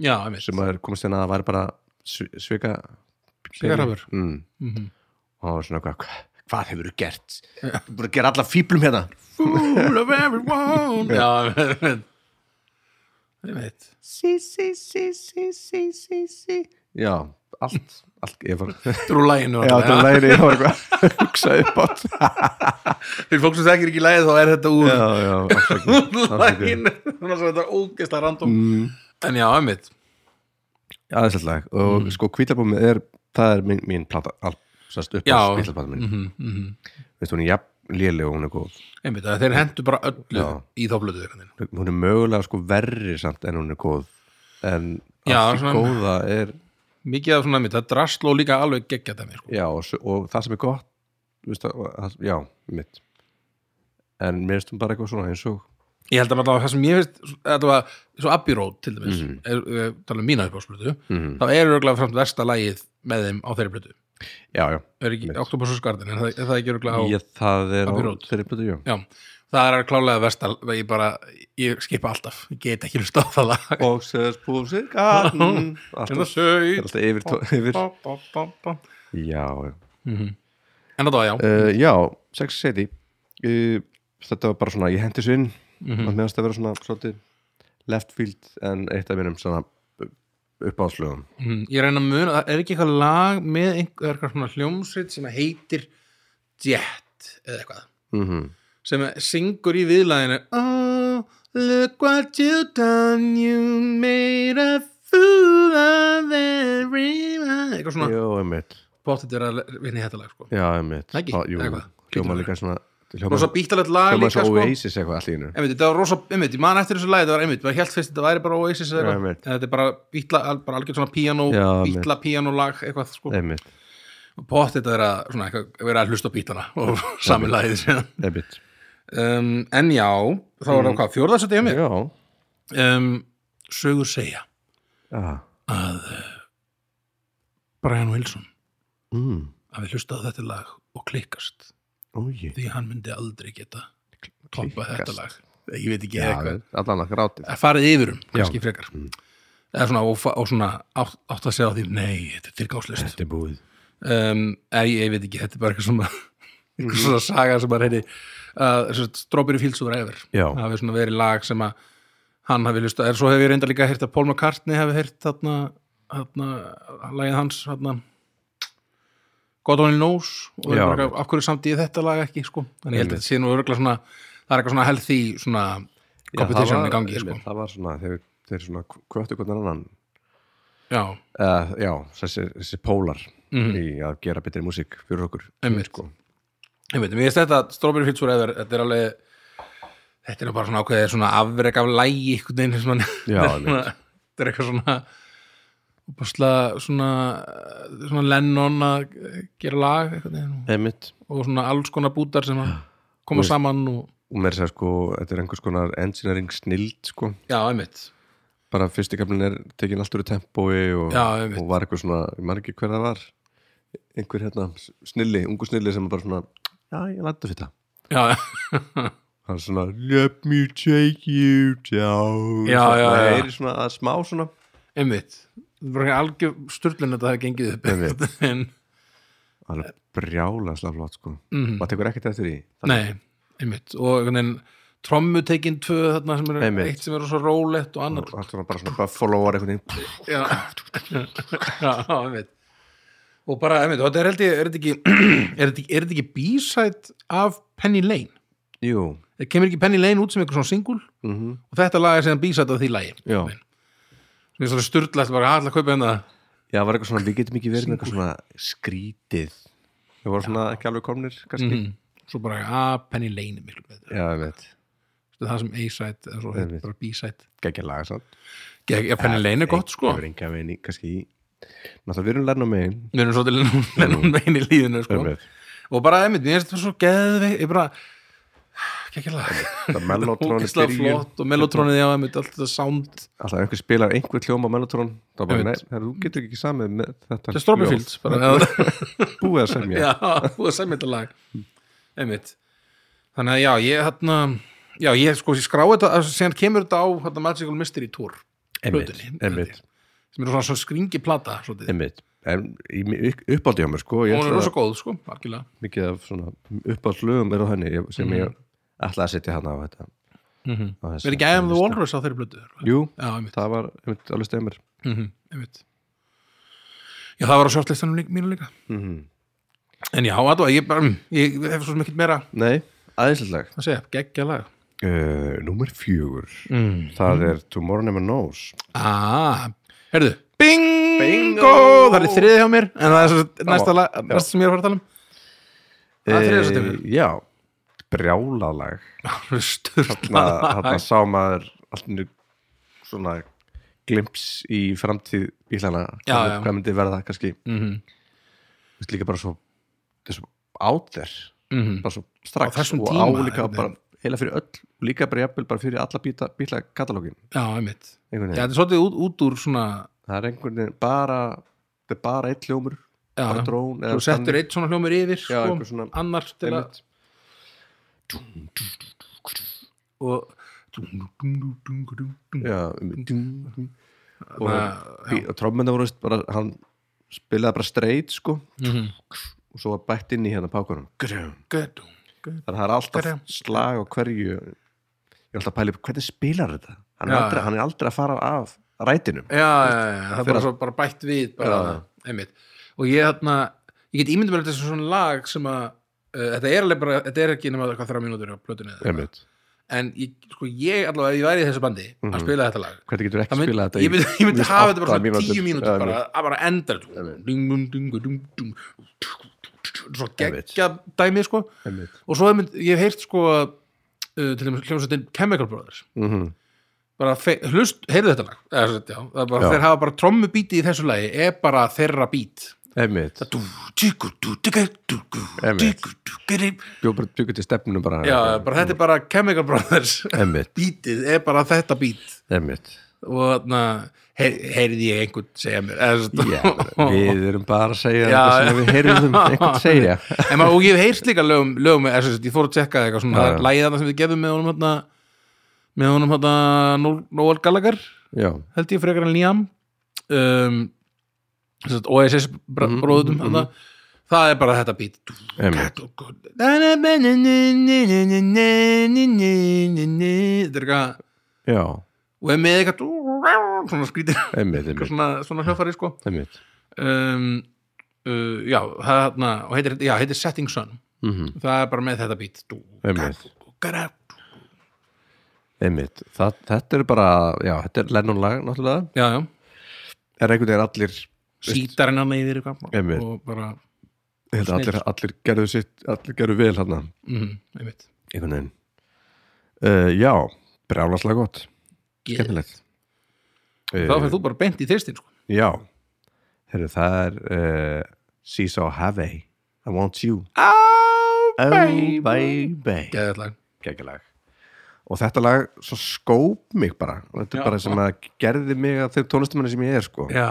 [SPEAKER 2] já, einmitt
[SPEAKER 1] sem maður komast hérna að væri bara svi- svika *laughs*
[SPEAKER 2] Sigarhafur
[SPEAKER 1] mm. og hann var svona eitthvað "Hva- hvað hefur þú gert? Þú búin að gera alla fýblum hérna
[SPEAKER 2] Fool of everyone Já, einmitt Einmitt
[SPEAKER 1] sí, sí, sí, sí, sí, sí, sí já, allt, allt ég var,
[SPEAKER 2] Drú læginu
[SPEAKER 1] já, það læri ég var eitthvað *laughs* að hugsa upp átt
[SPEAKER 2] Fyrir fólk sem þekkir ekki lægið þá er þetta
[SPEAKER 1] já,
[SPEAKER 2] úr
[SPEAKER 1] já, *laughs* afsakið, afsakið.
[SPEAKER 2] læginu Svona sem þetta er ógeðslega random
[SPEAKER 1] Mm,
[SPEAKER 2] En já, einmitt
[SPEAKER 1] aðeinslega lag og
[SPEAKER 2] Mm.
[SPEAKER 1] sko kvítabómið er það er mín, mín plata all, sérst, upp
[SPEAKER 2] Já.
[SPEAKER 1] á spítalplata mín
[SPEAKER 2] Mhm, mhm.
[SPEAKER 1] veist hún er jafn léleg og hún er góð
[SPEAKER 2] Einmitt, að þeir hendur bara öllu
[SPEAKER 1] Já.
[SPEAKER 2] í þá blötu einhvern veginn.
[SPEAKER 1] hún er mögulega sko verri samt en hún er góð en
[SPEAKER 2] Já,
[SPEAKER 1] allt í
[SPEAKER 2] svona-
[SPEAKER 1] góða er
[SPEAKER 2] Mikið af svona einmitt, það drasl og líka alveg geggja dæmi sko.
[SPEAKER 1] já, og, s- og það sem er gott þú veist, að, að, já, mitt en mér finnst hún bara eitthvað svona eins og
[SPEAKER 2] Ég held að maður það sem ég finnst Þetta var svo Abbey Road til dæmis mm. er, er, tala um mína uppáðsblötu
[SPEAKER 1] Mhm.
[SPEAKER 2] þá er örgulega framt versta lægið með þeim á þeirri blötu
[SPEAKER 1] já, já,
[SPEAKER 2] er ekki
[SPEAKER 1] Mitt.
[SPEAKER 2] Octopus og Skartin er það, er það ekki örgulega á
[SPEAKER 1] ég, það er
[SPEAKER 2] Abbey
[SPEAKER 1] á
[SPEAKER 2] Road.
[SPEAKER 1] þeirri plötu, já
[SPEAKER 2] Já, það er klálega versta ég bara, ég skipa alltaf ég get ekki hlust á það lag
[SPEAKER 1] og séðast búið sig
[SPEAKER 2] *laughs*
[SPEAKER 1] garden
[SPEAKER 2] Hérna
[SPEAKER 1] alltaf,
[SPEAKER 2] sög
[SPEAKER 1] alltaf yfir, tó- *laughs* yfir
[SPEAKER 2] En
[SPEAKER 1] já, já
[SPEAKER 2] þetta var já
[SPEAKER 1] uh, já, sex seti uh, þetta var bara svona, ég hendi svo inn
[SPEAKER 2] Mhm.
[SPEAKER 1] og meðast að vera svona svolítið left field en eitt af mínum svona uppáðslögum
[SPEAKER 2] Mhm. Ég reyna að muna, það er ekki eitthvað lag með einhver, það er eitthvað svona hljómsveit sem heitir Jet eða eitthvað
[SPEAKER 1] mm
[SPEAKER 2] sem syngur í viðlæðinu Oh, look what you done You made a fool of everyone eitthvað svona
[SPEAKER 1] Jó, einmitt
[SPEAKER 2] bóttið er að vinna í þetta lag sko.
[SPEAKER 1] Já, einmitt
[SPEAKER 2] Ekki?
[SPEAKER 1] Þá- jú,
[SPEAKER 2] Eitthvað.
[SPEAKER 1] Hljóma líka svona Hljóma
[SPEAKER 2] rosa bítalegt lag
[SPEAKER 1] hljóma
[SPEAKER 2] líka
[SPEAKER 1] svo
[SPEAKER 2] sko.
[SPEAKER 1] Oasis eitthvað allt í einu
[SPEAKER 2] einmitt, þetta var rosa, einmitt, ég man eftir þessu lagi þetta var einmitt, maður held fyrst þetta væri bara Oasis eða
[SPEAKER 1] Já,
[SPEAKER 2] eitthvað,
[SPEAKER 1] einmitt.
[SPEAKER 2] en þetta er bara, bítla, bara algjörn svona piano,
[SPEAKER 1] Já, einmitt.
[SPEAKER 2] bítla piano lag eitthvað sko,
[SPEAKER 1] Einmitt,
[SPEAKER 2] bótt þetta er að svona, eitthvað, vera að hlusta á bítana og *laughs* sami lagið síðan
[SPEAKER 1] einmitt
[SPEAKER 2] um, en já, þá var það hvað, fjórðarsætti hjá mér
[SPEAKER 1] Mm. Já
[SPEAKER 2] um, sögur segja
[SPEAKER 1] Já
[SPEAKER 2] að uh, Brian Wilson
[SPEAKER 1] Mm.
[SPEAKER 2] hafi hlustað á þetta lag og klikkast
[SPEAKER 1] Ói
[SPEAKER 2] því hann myndi aldrei geta kloppa þetta
[SPEAKER 1] klikkast.
[SPEAKER 2] lag ég veit ekki
[SPEAKER 1] Já,
[SPEAKER 2] eitthvað
[SPEAKER 1] allan að grátið
[SPEAKER 2] að farið yfir um, kannski
[SPEAKER 1] Já. Mm.
[SPEAKER 2] frekar eða svona, og, fa- og svona átt, átt að segja á því, nei, þetta er tilgangslust
[SPEAKER 1] er búið
[SPEAKER 2] um, eða ég, ég veit ekki, þetta er bara eitthvað svona *laughs* eitthvað
[SPEAKER 1] Mhm.
[SPEAKER 2] svona saga sem bara heiti uh, Strawberry Fields over Ever
[SPEAKER 1] Já.
[SPEAKER 2] það hafi svona verið lag sem að hann hafi lust er svo hef ég reynda líka heyrt að Paul McCartney hafi heyrt þarna, þarna lagið hans þarna God Only Knows og
[SPEAKER 1] Já.
[SPEAKER 2] er bara eitthvað, af hverju samt ég þetta lag ekki sko. þannig ég held að
[SPEAKER 1] Einmitt.
[SPEAKER 2] þetta sé nú örgulega svona það er eitthvað svona healthy svona competition í gangi sko.
[SPEAKER 1] Það var svona Þeir, þeir svona kvöttu hvernig annan
[SPEAKER 2] já,
[SPEAKER 1] uh, Já, þessi, þessi pólar
[SPEAKER 2] Mhm.
[SPEAKER 1] í að gera betri músík fyrir okkur
[SPEAKER 2] Einmitt.
[SPEAKER 1] sko.
[SPEAKER 2] ég veit, mér finnst þetta Strawberry Fields Forever, þetta er alveg þetta er nú bara svona ákveðið svona afreg af lægi einhvern veginn sem hann
[SPEAKER 1] Já,
[SPEAKER 2] *laughs* þetta er svona- þetta er eitthvað svona búsla, svona, svona Lennon að gera lag einhvern veginn og-
[SPEAKER 1] Einmitt
[SPEAKER 2] og svona alls konar bútar sem að koma
[SPEAKER 1] Þú veist-
[SPEAKER 2] saman og
[SPEAKER 1] Og mér segja sko Þetta er einhvers konar engineering snild sko
[SPEAKER 2] já, einmitt
[SPEAKER 1] bara fyrsti kaflin er tekin alltaf úr tempói og,
[SPEAKER 2] Já, einmitt.
[SPEAKER 1] og var eitthvað svona, ég man ekki hver það var einhver hérna s- snilli, ungu snilli sem bara svona, já ég landa fyrir það
[SPEAKER 2] já, *laughs*
[SPEAKER 1] hann er svona, let me take you down
[SPEAKER 2] Já,
[SPEAKER 1] Svona,
[SPEAKER 2] já,
[SPEAKER 1] það
[SPEAKER 2] já.
[SPEAKER 1] er í svona að smá svona
[SPEAKER 2] einmitt það er bara algjör sturlun að þetta hafi gengið upp
[SPEAKER 1] Einmitt.
[SPEAKER 2] en,
[SPEAKER 1] hann er brjála slaflót sko
[SPEAKER 2] mm,
[SPEAKER 1] maður tekur ekkert eftir því
[SPEAKER 2] nei, einmitt og einhvern veginn trommutekin tvö þarna sem er
[SPEAKER 1] Einmitt.
[SPEAKER 2] eitt sem er svo rólegt og annar
[SPEAKER 1] og allt svona bara svona buffaloar einhvern veginn
[SPEAKER 2] já, já, einmitt og bara, einmitt, og þetta er held ég er þetta ekki, *clears throat* er þetta ekki, er þetta ekki b-side af Penny Lane
[SPEAKER 1] jú,
[SPEAKER 2] það kemur ekki Penny Lane út sem eitthvað svona single
[SPEAKER 1] mhm,
[SPEAKER 2] og þetta lag er síðan b-side af því lagi
[SPEAKER 1] já
[SPEAKER 2] sem er svona styrlast, bara allar kaupa hérna." hennar
[SPEAKER 1] já, var eitthvað svona, við getum ekki verið með eitthvað svona skrítið við vorum svona ekki alveg komnir kannski,
[SPEAKER 2] mm. svo bara, að Penny Lane er miklu betur
[SPEAKER 1] já, ég veit
[SPEAKER 2] Þetta er það sem a-side, eða svo heitir
[SPEAKER 1] Einmitt.
[SPEAKER 2] bara b-side
[SPEAKER 1] geggja laga samt
[SPEAKER 2] Gegg- já, Penny Lane er gott, sko
[SPEAKER 1] Ég verið enga veginn í, kannski í Náttúrulega við erum lærna megin
[SPEAKER 2] við erum svo til lennum megin í líðinu, sko
[SPEAKER 1] Einmitt.
[SPEAKER 2] og bara, einmitt, mér finnst þetta svo geðveik ég bara, ekki lag
[SPEAKER 1] Það er mellotrónu
[SPEAKER 2] Ógislega flott og melotrónið já, einmitt, allt þetta sound
[SPEAKER 1] Alltaf einhver spilar einhver hljóma mellotrón Það er bara,
[SPEAKER 2] Einmitt.
[SPEAKER 1] nei, herru, þú getur ekki samið með þetta
[SPEAKER 2] Þetta er Strawberryfields bara,
[SPEAKER 1] hljóð. Búið að
[SPEAKER 2] *laughs*
[SPEAKER 1] semja
[SPEAKER 2] Já, þú er sæmið þetta lag Einmitt Þannig að já, ég hérna Já, ég sko, ég skrá þetta að Sér kemur þetta á hérna, Magical Mystery Tour
[SPEAKER 1] Einmitt,
[SPEAKER 2] plötunni,
[SPEAKER 1] einmitt,
[SPEAKER 2] sem er svona, svona skringi plata svolítið.
[SPEAKER 1] einmitt En í- uppáldi hjá mér, sko Ég
[SPEAKER 2] og hún er
[SPEAKER 1] ætla
[SPEAKER 2] rosa góð, sko, algjörlega
[SPEAKER 1] að mikið af svona uppáldslögum er á henni ég- sem ég ætla að setja hann á þetta á þessa-
[SPEAKER 2] Mhm. Við erum ekki æðum The
[SPEAKER 1] lista.
[SPEAKER 2] Walrus á þeirri blötu
[SPEAKER 1] Jú,
[SPEAKER 2] Já, einmitt,
[SPEAKER 1] það var einmitt alveg stemur
[SPEAKER 2] mm einmitt. Já, það var á shortlistanum líka, mínu líka
[SPEAKER 1] Mhm.
[SPEAKER 2] En já, allavega, ég, bara, mm, ég hef svo mikið meira
[SPEAKER 1] Nei, aðeinslega
[SPEAKER 2] að segja, geggja lag
[SPEAKER 1] uh, Númer fjögur
[SPEAKER 2] Mhm.
[SPEAKER 1] Það er Tomorrow Never Knows
[SPEAKER 2] Ah, herðu Bingo!
[SPEAKER 1] Bingo!
[SPEAKER 2] Það er þriði hjá mér En það er svo næsta
[SPEAKER 1] Já.
[SPEAKER 2] lag, næsta sem ég er að fara að tala um Það er þriðja
[SPEAKER 1] Eh,
[SPEAKER 2] sætið fyrir.
[SPEAKER 1] Já, brjálalag
[SPEAKER 2] Sturla
[SPEAKER 1] Þarna sá maður allt innu svona glimps í framtíð bílana
[SPEAKER 2] Já,
[SPEAKER 1] hvað,
[SPEAKER 2] já.
[SPEAKER 1] hvað myndi verða kannski
[SPEAKER 2] mm -hmm.
[SPEAKER 1] Þú veist líka bara svo, þetta er svo out there
[SPEAKER 2] Mhm.
[SPEAKER 1] bara svo
[SPEAKER 2] Á
[SPEAKER 1] strax
[SPEAKER 2] þessum
[SPEAKER 1] og
[SPEAKER 2] tíma,
[SPEAKER 1] álíka
[SPEAKER 2] einhvern
[SPEAKER 1] bara heila fyrir öll og líka bara jafnvel bara fyrir alla bíla, bíla katalógin
[SPEAKER 2] Já, einmitt
[SPEAKER 1] einhvern
[SPEAKER 2] Já,
[SPEAKER 1] veginn,
[SPEAKER 2] þetta er svolítið út, út úr svona
[SPEAKER 1] það er einhvern veginn bara þetta er bara eitt hljómur,
[SPEAKER 2] Já,
[SPEAKER 1] bara drón
[SPEAKER 2] þú settur eitt svona hljómur yfir sko,
[SPEAKER 1] Já, einhver svona-
[SPEAKER 2] annar til að
[SPEAKER 1] einmitt,
[SPEAKER 2] og
[SPEAKER 1] já, einmitt. og,
[SPEAKER 2] Þarna,
[SPEAKER 1] bí- og trómmenda voru veist, bara, hann spilaði bara straight sko
[SPEAKER 2] Mhm.
[SPEAKER 1] og svo var bætt inn í hérna pákunum þannig
[SPEAKER 2] Gödung, gödung.
[SPEAKER 1] að það er alltaf
[SPEAKER 2] Hverja?
[SPEAKER 1] slag og hverju ég er alltaf að pæla upp hvernig spilar þetta hann, er
[SPEAKER 2] Já,
[SPEAKER 1] aldrei,
[SPEAKER 2] já.
[SPEAKER 1] hann er aldrei að fara af rætinum
[SPEAKER 2] Já, já, já, já, það er
[SPEAKER 1] Þegar-
[SPEAKER 2] bara, svo, bara bætt við bara, einmitt og ég þarna, ég get ímyndum að þetta er svona lag sem að uh, þetta er alveg bara, þetta er ekki nema eitthvað þrjá mínútur á plötunni eða eitthvað.
[SPEAKER 1] Einmitt.
[SPEAKER 2] en ég, sko, ég allavega, ef ég væri í þessu bandi
[SPEAKER 1] Mhm.
[SPEAKER 2] að spila þetta lag
[SPEAKER 1] hvernig getur
[SPEAKER 2] það
[SPEAKER 1] ekki spilað þetta
[SPEAKER 2] ég myndi, ég myndi hafa þetta bara svona tíu mínútur bara,
[SPEAKER 1] bara
[SPEAKER 2] að bara enda dung, dung, dung, dung, dung, svo geggja dæmi sko. og svo hef mynd, ég hef heyrt sko að, uh, til dæmis hljómsveitin Chemical Brothers
[SPEAKER 1] Mhm.
[SPEAKER 2] bara fe- hlust, heyrðu þetta lag eða, sem sagt, já, það er bara,
[SPEAKER 1] Já.
[SPEAKER 2] þeir hafa bara trommubítið í þessu lagi er bara þeirra bít
[SPEAKER 1] einmitt
[SPEAKER 2] Dú, tíku, dú, tíku, dúku,
[SPEAKER 1] Einmitt.
[SPEAKER 2] tíku, dúku, dí.
[SPEAKER 1] bjóð bara byggur til stefnunum bara
[SPEAKER 2] já, bara þetta er bara Chemical Brothers *laughs*
[SPEAKER 1] Einmitt.
[SPEAKER 2] bítið er bara þetta bít
[SPEAKER 1] einmitt
[SPEAKER 2] og na, heyr, heyrði ég einhvern segja mér eða, sem
[SPEAKER 1] já,
[SPEAKER 2] sagt,
[SPEAKER 1] við erum bara að segja
[SPEAKER 2] Já,
[SPEAKER 1] þetta sem við heyrðum einhvern segja
[SPEAKER 2] *laughs* en maður, og ég hef heyrst líka lögum, lögum eða, sem sagt, ég fór að tjekka eitthvað svona
[SPEAKER 1] Já,
[SPEAKER 2] það
[SPEAKER 1] já.
[SPEAKER 2] er lagið þarna sem við gefum með honum hana, með honum hana Noel Gallagher
[SPEAKER 1] já,
[SPEAKER 2] held ég frekar en Liam um, sem sagt, OSS br
[SPEAKER 1] Mhm,
[SPEAKER 2] bróðum mm það er bara þetta beat oh þetta
[SPEAKER 1] einmitt
[SPEAKER 2] er eitthvað
[SPEAKER 1] já,
[SPEAKER 2] og er með eitthvað svona skrítir
[SPEAKER 1] einmitt, einmitt,
[SPEAKER 2] svona, svona hljófari sko
[SPEAKER 1] einmitt.
[SPEAKER 2] um, uh, já, það er þarna og heitir, já, heitir Setting Sun
[SPEAKER 1] Mhm.
[SPEAKER 2] það er bara með þetta beat
[SPEAKER 1] Einmitt.
[SPEAKER 2] Dú-
[SPEAKER 1] Einmitt, það, þetta er bara já, þetta er Lennon lag náttúrulega
[SPEAKER 2] já, já,
[SPEAKER 1] er einhvern veginn allir
[SPEAKER 2] sítarinn hann yfir eitthvað
[SPEAKER 1] Einmitt.
[SPEAKER 2] og bara
[SPEAKER 1] ég held að allir, allir gerðu sitt, allir gerðu vel hann
[SPEAKER 2] mm, einmitt
[SPEAKER 1] einhvern veginn uh, já, brjálaslega gott skemmtilegt Eh,
[SPEAKER 2] þá fyrir þú bara beint í þristin sko.
[SPEAKER 1] já, Heru, það er uh, Seesaw Havey I want you
[SPEAKER 2] oh,
[SPEAKER 1] baby
[SPEAKER 2] geðallag
[SPEAKER 1] Gekkjalag og þetta lag svo skóp mig bara og
[SPEAKER 2] Já.
[SPEAKER 1] þetta er bara sem að gerði mig af þeim tónlistumenni sem ég er sko
[SPEAKER 2] já,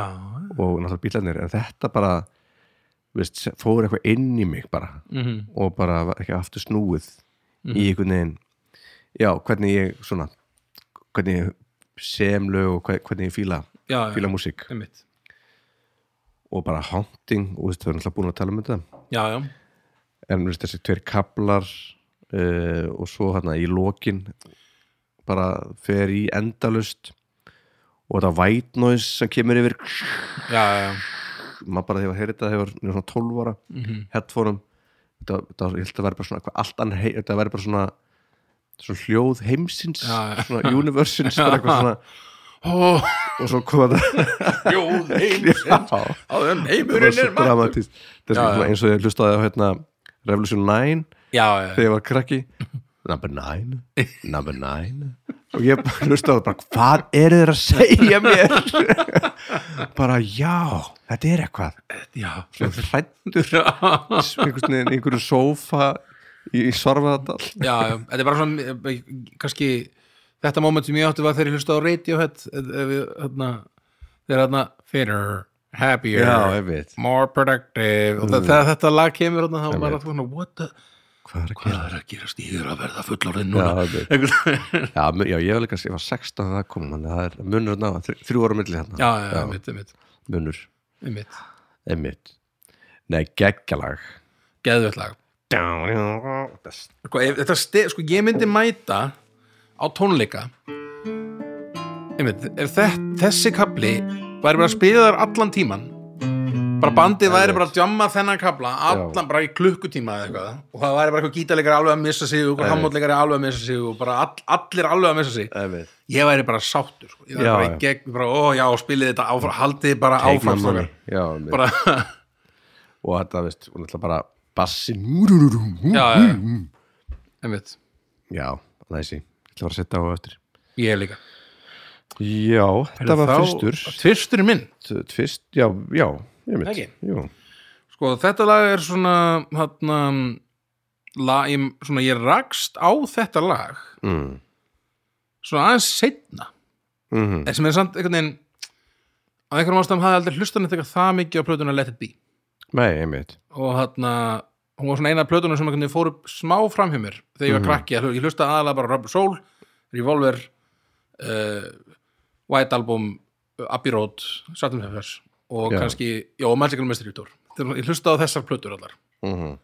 [SPEAKER 1] og náttúrulega bílarnir en þetta bara þú veist, fór eitthvað inn í mig bara
[SPEAKER 2] mm
[SPEAKER 1] og bara var ekki aftur snúið í einhvern veginn já, hvernig ég svona hvernig ég sem lög og hve- hvernig ég fíla,
[SPEAKER 2] já, já
[SPEAKER 1] fíla músík
[SPEAKER 2] einmitt
[SPEAKER 1] og bara haunting og þú veist, við erum alltaf búin að tala um þetta
[SPEAKER 2] já, já,
[SPEAKER 1] en þú veist, þessi tveir kaplar uh, og svo hérna í lokin bara fer í endalust og þetta white noise sem kemur yfir
[SPEAKER 2] já, já, já.
[SPEAKER 1] maður bara þegar að heyra þetta þegar ég var svona 12 ára mm
[SPEAKER 2] Mhm.
[SPEAKER 1] -hmm. headphone þetta, þetta, ég held að vera bara svona eitthvað allt annað hei- þetta vera bara svona, svona hljóð heimsins
[SPEAKER 2] Já, já. Oh.
[SPEAKER 1] svona
[SPEAKER 2] *laughs*
[SPEAKER 1] universins bara eitthvað svona
[SPEAKER 2] Ó,
[SPEAKER 1] og svo koma
[SPEAKER 2] *laughs*
[SPEAKER 1] þetta
[SPEAKER 2] Jóð heimsins
[SPEAKER 1] Já,
[SPEAKER 2] áður en
[SPEAKER 1] það var
[SPEAKER 2] heimurinn
[SPEAKER 1] svo
[SPEAKER 2] er maður
[SPEAKER 1] dramatískt þetta
[SPEAKER 2] Já,
[SPEAKER 1] er svona
[SPEAKER 2] já.
[SPEAKER 1] eins og ég hlustaði á hérna Revolution 9
[SPEAKER 2] já, já,
[SPEAKER 1] þegar ég var krakki number 9, number 9 og ég bara hlustaði á það bara hvað eru þeir að segja mér *laughs* bara já þetta er eitthvað
[SPEAKER 2] já
[SPEAKER 1] Svo hræddur einhvern veginn, einhverju sófa í svarfaðadal
[SPEAKER 2] já, já, þetta er bara svona eh, kannski þetta moment sem ég átti var þegar ég hlusta á Radiohead eh, eh, við, hérna, þegar hérna fitter, happier
[SPEAKER 1] Já, ég veit.
[SPEAKER 2] more productive og það, þegar þetta lag kemur hérna, þá var
[SPEAKER 1] veit.
[SPEAKER 2] alltaf svona what the,
[SPEAKER 1] hvað er að
[SPEAKER 2] hvað
[SPEAKER 1] gera?
[SPEAKER 2] er að gerast ég er að verða fullorðin
[SPEAKER 1] Já,
[SPEAKER 2] núna
[SPEAKER 1] ég veit.
[SPEAKER 2] *laughs* já,
[SPEAKER 1] já, mun- já, ég var líka, ég var 16 þegar það kom þannig að það er munur ná, þrjú ára milli hérna
[SPEAKER 2] já, já, einmitt, einmitt,
[SPEAKER 1] munur,
[SPEAKER 2] einmitt
[SPEAKER 1] einmitt nei, geggjalag
[SPEAKER 2] geðvett lag
[SPEAKER 1] já,
[SPEAKER 2] sko, ef, þetta stef, sko, ég myndi mæta á tónleika einmitt, ef þe þessi kapli væri bara að spila þar allan tíman bara bandið væri bara að djamma þennan kabla allan bara í klukkutíma eða eitthvað og það væri bara eitthvað gítalegari alveg að missa sig og eitthvað hammótlegari alveg að missa sig og bara all, allir alveg að missa sig
[SPEAKER 1] Einmitt.
[SPEAKER 2] ég væri bara sáttur sko. ég væri
[SPEAKER 1] Já,
[SPEAKER 2] bara
[SPEAKER 1] já.
[SPEAKER 2] í gegn, bara ó já, spilið þetta áfram haldið bara
[SPEAKER 1] Take my
[SPEAKER 2] áfram
[SPEAKER 1] money.
[SPEAKER 2] strákar.
[SPEAKER 1] Já, einmitt.
[SPEAKER 2] bara, *laughs*
[SPEAKER 1] og þetta veist, og náttúrulega bara bassin já,
[SPEAKER 2] já, já, já. einmitt,
[SPEAKER 1] já næsi, ég ætla bara að setja á eftir
[SPEAKER 2] ég líka
[SPEAKER 1] já, þetta var fyrstur
[SPEAKER 2] fyrstur minn
[SPEAKER 1] T- fyrst, já, já, ég mitt
[SPEAKER 2] Ekki?
[SPEAKER 1] Jú.
[SPEAKER 2] Sko þetta lag er svona hérna lag, ég, svona ég rakst á þetta lag
[SPEAKER 1] Mm.
[SPEAKER 2] svona aðeins seinna
[SPEAKER 1] Mm
[SPEAKER 2] en sem er samt einhvern veginn á einhverjum ástæðum hafði aldrei hlustan þetta það mikið á plötuna Let It Be
[SPEAKER 1] nei, ég mitt
[SPEAKER 2] og hérna hún var svona eina plötuna sem einhvern veginn fór upp smá fram hjá mér þegar ég var krakki, ég ég hlustaði aðalega bara á Rubber Soul, Revolver uh, White Album Abbey Road, Saturn Feffers og
[SPEAKER 1] Já.
[SPEAKER 2] kannski, já, og Magical Mystery Tour Þetta- ég hlustaði á þessar plötur allar
[SPEAKER 1] mm -hmm.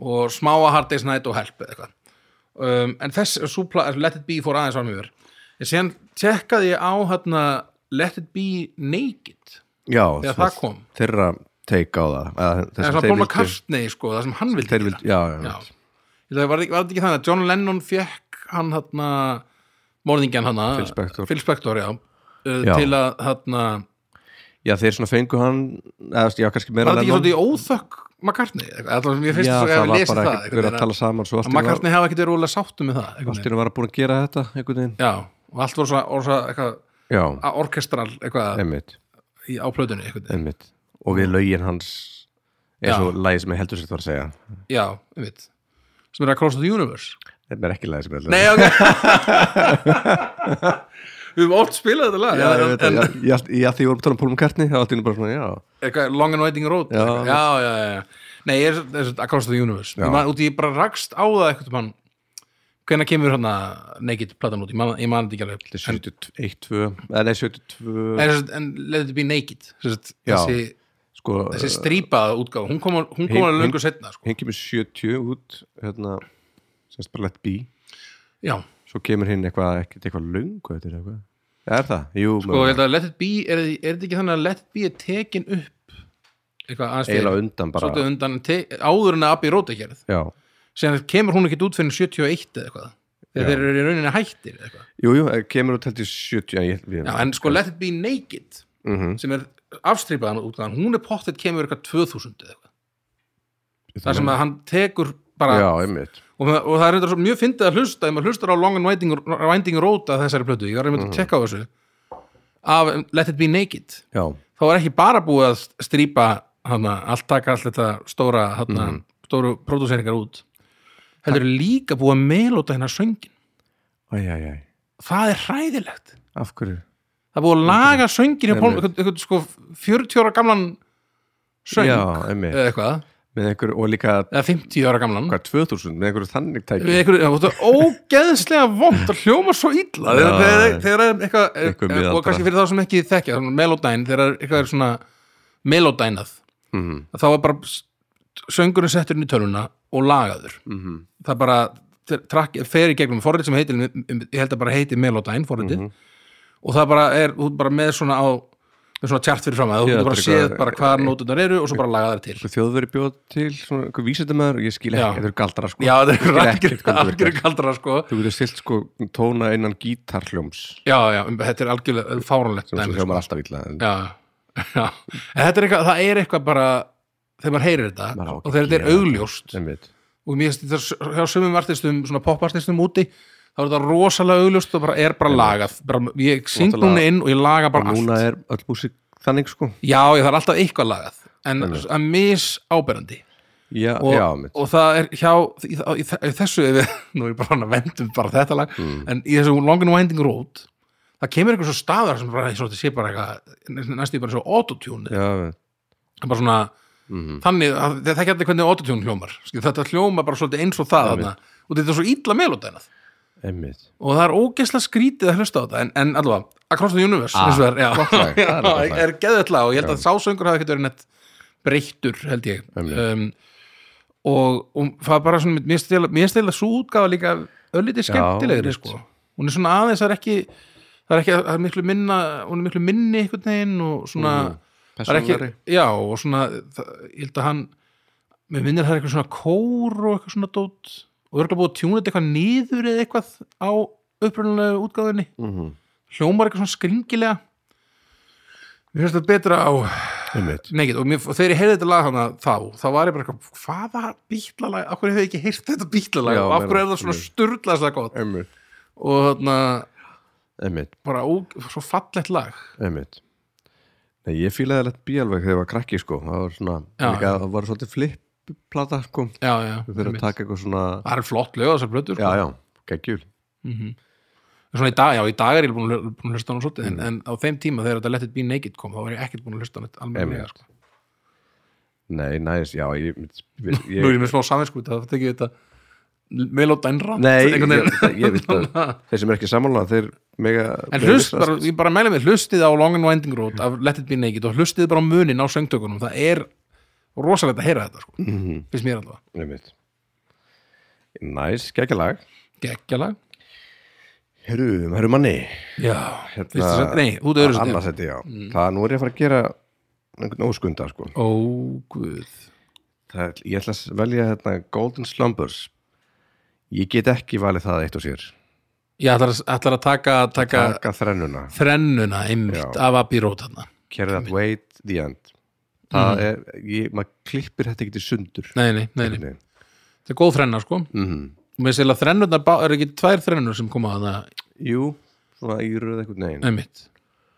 [SPEAKER 2] og smáa Hard Day's Night og Help eða eitthvað um, en þess súpla, Let It Be fór aðeins var mjög en síðan tekkaði ég á hérna, Let It Be Naked
[SPEAKER 1] já,
[SPEAKER 2] þegar
[SPEAKER 1] svona
[SPEAKER 2] það kom
[SPEAKER 1] þeirra teik á það eða,
[SPEAKER 2] það er
[SPEAKER 1] þess
[SPEAKER 2] svona Paul McCartney sko, það sem hann vildi
[SPEAKER 1] þeir
[SPEAKER 2] gera.
[SPEAKER 1] vildi, já, já,
[SPEAKER 2] Já.
[SPEAKER 1] já.
[SPEAKER 2] Ég veit, var þetta ekki, var þetta ekki þannig að John Lennon fekk hann hann morðingjan hann
[SPEAKER 1] Phil Spector.
[SPEAKER 2] Phil Spector já, uh,
[SPEAKER 1] Já.
[SPEAKER 2] til að hérna- hann
[SPEAKER 1] já, þeir svona fengu hann eða, þú veist, já, kannski meira
[SPEAKER 2] var þetta ekki
[SPEAKER 1] Lennon.
[SPEAKER 2] svolítið óþökk McCartney eitthvað, allavega sem ég finnst
[SPEAKER 1] já,
[SPEAKER 2] svo
[SPEAKER 1] það
[SPEAKER 2] að
[SPEAKER 1] var
[SPEAKER 2] lesa
[SPEAKER 1] bara
[SPEAKER 2] það einhvern
[SPEAKER 1] ekkert verið
[SPEAKER 2] veginn
[SPEAKER 1] að
[SPEAKER 2] að-
[SPEAKER 1] tala saman svo
[SPEAKER 2] að
[SPEAKER 1] allt í einu var-
[SPEAKER 2] McCartney hafa ekkert verið rúlega sáttu með það einhvern veginn.
[SPEAKER 1] allt í einu var að búin að gera þetta einhvern veginn
[SPEAKER 2] Já, og allt voru svona, voru svona eitthvað,
[SPEAKER 1] já,
[SPEAKER 2] a- orkestral eitthvað
[SPEAKER 1] einmitt
[SPEAKER 2] í áplötunni eitthvað.
[SPEAKER 1] einmitt og við lögin hans eins
[SPEAKER 2] Já.
[SPEAKER 1] og lagið sem ég heldur sér var að segja
[SPEAKER 2] Já, einmitt sem er að Cross of the Universe
[SPEAKER 1] þetta er ekki lagið sem ég heldur
[SPEAKER 2] Nei, ok *laughs* Við höfum oft spilað þetta lag
[SPEAKER 1] já,
[SPEAKER 2] en-
[SPEAKER 1] ég veit það,
[SPEAKER 2] en,
[SPEAKER 1] já, já, já, því vorum að tala um Pólum Kertni þá allt í einu bara svona, já,
[SPEAKER 2] eitthvað, Long and Waiting Road
[SPEAKER 1] Já.
[SPEAKER 2] eitthvað. já, já, já, já. Nei, ég er, er að Cross of the Universe
[SPEAKER 1] Já.
[SPEAKER 2] Ég man, út í ég bara rakst á það eitthvað mann hvenær kemur hérna naked platan út, ég man, ég man þetta ekki alveg
[SPEAKER 1] þetta er 71, 2 eða nei, 72
[SPEAKER 2] En, en, en let it be naked sem sagt,
[SPEAKER 1] Já.
[SPEAKER 2] þessi,
[SPEAKER 1] sko,
[SPEAKER 2] þessi strípaða útgáfa hún kom, hún kom
[SPEAKER 1] Hin-
[SPEAKER 2] alveg
[SPEAKER 1] hin-
[SPEAKER 2] löngu setna sko.
[SPEAKER 1] hinn kemur 70 út hérna, semst bara let be
[SPEAKER 2] Já,
[SPEAKER 1] svo kemur hinn eitthvað, ekkert eitthvað löngu þetta er eitthvað, er það? Jú,
[SPEAKER 2] Sko, ég held að Let It Be, er, er þetta ekki þannig að Let It Be er tekin upp eitthvað aðeins
[SPEAKER 1] eiginlega undan bara
[SPEAKER 2] svolítið undan, te, áður en að Abbi Róta gerð
[SPEAKER 1] já,
[SPEAKER 2] sem kemur hún ekkit út fyrir 71 eða eitthvað,
[SPEAKER 1] Já.
[SPEAKER 2] þegar þeir eru í rauninni hættir eða eitthvað,
[SPEAKER 1] jú, jú, eh, kemur út heldur 70 en ég, við,
[SPEAKER 2] já, en sko Let It Be Naked
[SPEAKER 1] mm
[SPEAKER 2] sem er afstrípaðan útgáðan hún er pottet kemur eitthvað 2000 eða eitthvað, þar sem að hann tekur bara,
[SPEAKER 1] já, einmitt
[SPEAKER 2] og, það- og það er reyndar svo mjög fyndið að hlusta, ef maður hlustar á Long and Winding, Winding Road að þessari plötu, ég var
[SPEAKER 1] Mhm.
[SPEAKER 2] einmitt að tjekka á þessu af Let It Be Naked
[SPEAKER 1] já,
[SPEAKER 2] þá var ekki bara búið að strýpa hana, allt taka allt þetta stóra hana,
[SPEAKER 1] Mhm.
[SPEAKER 2] stóru pródúseringar út heldur er líka búið að meilóta hennar söngin
[SPEAKER 1] æj, æj, æj,
[SPEAKER 2] það er hræðilegt
[SPEAKER 1] af hverju?
[SPEAKER 2] það er búið að laga söngin hjá Pál-
[SPEAKER 1] Mhm. Einmitt.
[SPEAKER 2] einhvern einhvern sko 40 ára gamlan söng Eh.
[SPEAKER 1] já, einmitt,
[SPEAKER 2] eða eitthvað,
[SPEAKER 1] með einhver, og líka
[SPEAKER 2] eða 50 ára gamlan
[SPEAKER 1] hvað, 2000, með einhverju þannig tæki
[SPEAKER 2] Einhver, það er ógeðslega vond að hljóma svo illa
[SPEAKER 1] Já,
[SPEAKER 2] þegar, þegar,
[SPEAKER 1] já.
[SPEAKER 2] þegar er eitthvað,
[SPEAKER 1] Einhver
[SPEAKER 2] eitthvað
[SPEAKER 1] miðaldra.
[SPEAKER 2] og kannski fyrir þá sem ekki þekkja melodæn, þegar er eitthvað er svona melodænað
[SPEAKER 1] Mhm.
[SPEAKER 2] þá er bara s- söngurinn settur inn í töluna og lagaður
[SPEAKER 1] Mhm.
[SPEAKER 2] það bara tr- trakk, fer í gegnum forrið sem heitir, ég held að bara heiti Melodyne forriðið
[SPEAKER 1] Mhm.
[SPEAKER 2] og það bara er, þú ert bara með svona á með svona tjart fyrir fram að þú
[SPEAKER 1] Já,
[SPEAKER 2] getur bara
[SPEAKER 1] þetta er
[SPEAKER 2] séð
[SPEAKER 1] eitthvað-
[SPEAKER 2] bara hvaðar nótunar eru og svo bara laga þær til
[SPEAKER 1] *laughs* Einhver þjóðveri bjóð til, svona, einhver vísindamæður ég skil ekki,
[SPEAKER 2] Já.
[SPEAKER 1] þetta eru galdra sko
[SPEAKER 2] Já, það er
[SPEAKER 1] Ég skil ekkert hvað þetta
[SPEAKER 2] algjör
[SPEAKER 1] virkar.
[SPEAKER 2] kaldra sko
[SPEAKER 1] þú getur stilt sko tóna innan gítarhljóms
[SPEAKER 2] Já, já, um, þetta er algjörlega fáránlegt
[SPEAKER 1] sem
[SPEAKER 2] dæmi,
[SPEAKER 1] svo
[SPEAKER 2] sko.
[SPEAKER 1] hljómar alltaf illa en-
[SPEAKER 2] Já, *laughs* já En þetta er eitthvað, það er eitthvað bara þegar maður heyrir þetta
[SPEAKER 1] Maður á ekki
[SPEAKER 2] og þegar
[SPEAKER 1] að
[SPEAKER 2] þetta er
[SPEAKER 1] gera þetta.
[SPEAKER 2] augljóst
[SPEAKER 1] einmitt,
[SPEAKER 2] og mér finnst þetta hjá sumum artistum, svona poppartistum úti þá er þetta rosalega augljóst og bara er bara lagað bara, ég syng
[SPEAKER 1] Náttúrulega-
[SPEAKER 2] núna inn og ég laga
[SPEAKER 1] og
[SPEAKER 2] bara
[SPEAKER 1] núna
[SPEAKER 2] allt
[SPEAKER 1] er öll músík þannig sko
[SPEAKER 2] já, ég þarf alltaf eitthvað lagað en það er mis áberandi
[SPEAKER 1] já,
[SPEAKER 2] og,
[SPEAKER 1] já, einmitt,
[SPEAKER 2] og það er hjá í, í, í þessu, ef við, *laughs* nú er ég bara hann að vendum bara þetta lag,
[SPEAKER 1] Mm.
[SPEAKER 2] en í þessu Long and Winding Road það kemur einhver svo staðar sem bara, svo, þetta sé bara eitthvað næstu í bara svo autotune
[SPEAKER 1] já, Mhm. einmitt.
[SPEAKER 2] Það er bara svona þannig, að, það er ekki allir hvernig autotune hljómar Skil, þetta hljóma bara svolítið eins og það
[SPEAKER 1] Já,
[SPEAKER 2] þarna, og þetta er svo illa melodænað
[SPEAKER 1] einmitt
[SPEAKER 2] og það er ógeðslega skrítið að hlusta á þetta en, en allavega, Across the Universe
[SPEAKER 1] Ah,
[SPEAKER 2] ah, vegar, já, *laughs*
[SPEAKER 1] lag, það er
[SPEAKER 2] já,
[SPEAKER 1] gott lag.
[SPEAKER 2] er geðvella og ég held að sásöngur hafi ekkert verið nett breyttur held ég
[SPEAKER 1] Einmitt.
[SPEAKER 2] um, og, og það er bara svona mér stila, mér stila svo útgáfa líka öllítið
[SPEAKER 1] Já,
[SPEAKER 2] skemmtilegri
[SPEAKER 1] einmitt.
[SPEAKER 2] sko. hún er svona aðeins, það er ekki það er ekki, það er miklu minna hún er miklu minni einhvern veginn og svona það er ekki,
[SPEAKER 1] Mm, Persónulegri.
[SPEAKER 2] já og svona það, ég held að hann mér minnir það er eitthvað svona kór og eitthvað svona dót og örgulega búið að tjúna þetta eitthvað niður eða eitthvað á upprunalegu útgáðinni
[SPEAKER 1] Mhm.
[SPEAKER 2] hljómar eitthvað svona skringilega mér finnst þetta betra á
[SPEAKER 1] Einmitt.
[SPEAKER 2] Nei, og, mér, og þegar ég heyrði þetta lag hana þá, þá var ég bara eitthvað, hvaða bítlalag, af hverju hefur ég ekki heyrt þetta bítlalag
[SPEAKER 1] Já,
[SPEAKER 2] og af hverju er
[SPEAKER 1] meira,
[SPEAKER 2] það svona
[SPEAKER 1] meira.
[SPEAKER 2] sturðlega gott
[SPEAKER 1] Einmitt.
[SPEAKER 2] og þarna,
[SPEAKER 1] Einmitt.
[SPEAKER 2] bara ó, svo fallegt lag
[SPEAKER 1] Einmitt. Nei, ég fílaði alveg bí alveg þegar ég var krakki sko það var svona,
[SPEAKER 2] Já,
[SPEAKER 1] líka, það var svolítið flipplata sko,
[SPEAKER 2] já, já,
[SPEAKER 1] fyrir að
[SPEAKER 2] einmitt.
[SPEAKER 1] taka eitthvað svona
[SPEAKER 2] það er flott lög á þessar blötu
[SPEAKER 1] já,
[SPEAKER 2] sko.
[SPEAKER 1] já, geggjul
[SPEAKER 2] mm svona í dag, já, í dag er ég búin að búin að hlusta á hann svolítið,
[SPEAKER 1] Mm.
[SPEAKER 2] en, en á þeim tíma þegar þetta Let It Be Naked kom, þá var ég ekkert búin að hlusta á hann almennilega,
[SPEAKER 1] Einmitt.
[SPEAKER 2] sko.
[SPEAKER 1] nei, næs, já, ég, ég,
[SPEAKER 2] *laughs* nú er ég
[SPEAKER 1] ég
[SPEAKER 2] með smá samvinsku, það tekið þetta melóta en rann
[SPEAKER 1] nei, ég, ég, ég vil
[SPEAKER 2] *laughs*
[SPEAKER 1] það þeir sem er ekki sammála, þeir mega
[SPEAKER 2] En
[SPEAKER 1] mega
[SPEAKER 2] hlust,
[SPEAKER 1] vissast.
[SPEAKER 2] bara, ég bara mæli mig, hlustið á Long and Winding Road af Let It Be Naked og hlustið bara á munin á söngtökunum það er rosalegt að heyra þetta sko.
[SPEAKER 1] Mhm,
[SPEAKER 2] finnst mér allavega,
[SPEAKER 1] einmitt næs, geggjalag
[SPEAKER 2] geggjalag
[SPEAKER 1] herru, herru manni
[SPEAKER 2] Já,
[SPEAKER 1] Hérna-
[SPEAKER 2] fyrstu sett, nei, út öðru sett
[SPEAKER 1] annars þetta, já,
[SPEAKER 2] Mm.
[SPEAKER 1] það nú er ég að fara að gera einhvern óskunda sko
[SPEAKER 2] Ó, guð
[SPEAKER 1] það, er- ég ætla að velja hérna Golden Slumbers ég get ekki valið það eitt og sér
[SPEAKER 2] Ég ætlar, að- ætlar að taka, taka
[SPEAKER 1] taka þrennuna,
[SPEAKER 2] þrennuna einmitt
[SPEAKER 1] Já.
[SPEAKER 2] af Abbey Road þarna
[SPEAKER 1] carry that weight the end það er, ég, maður klippir þetta ekki til sundur
[SPEAKER 2] Nei, Mm. nei, nei, nei, þetta er góð þrenna sko
[SPEAKER 1] -hmm.
[SPEAKER 2] Mér sér að þrennunar, bá- eru ekki tvær þrennur sem koma að það
[SPEAKER 1] jú, svona í röð eitthvað negin uh,
[SPEAKER 2] einmitt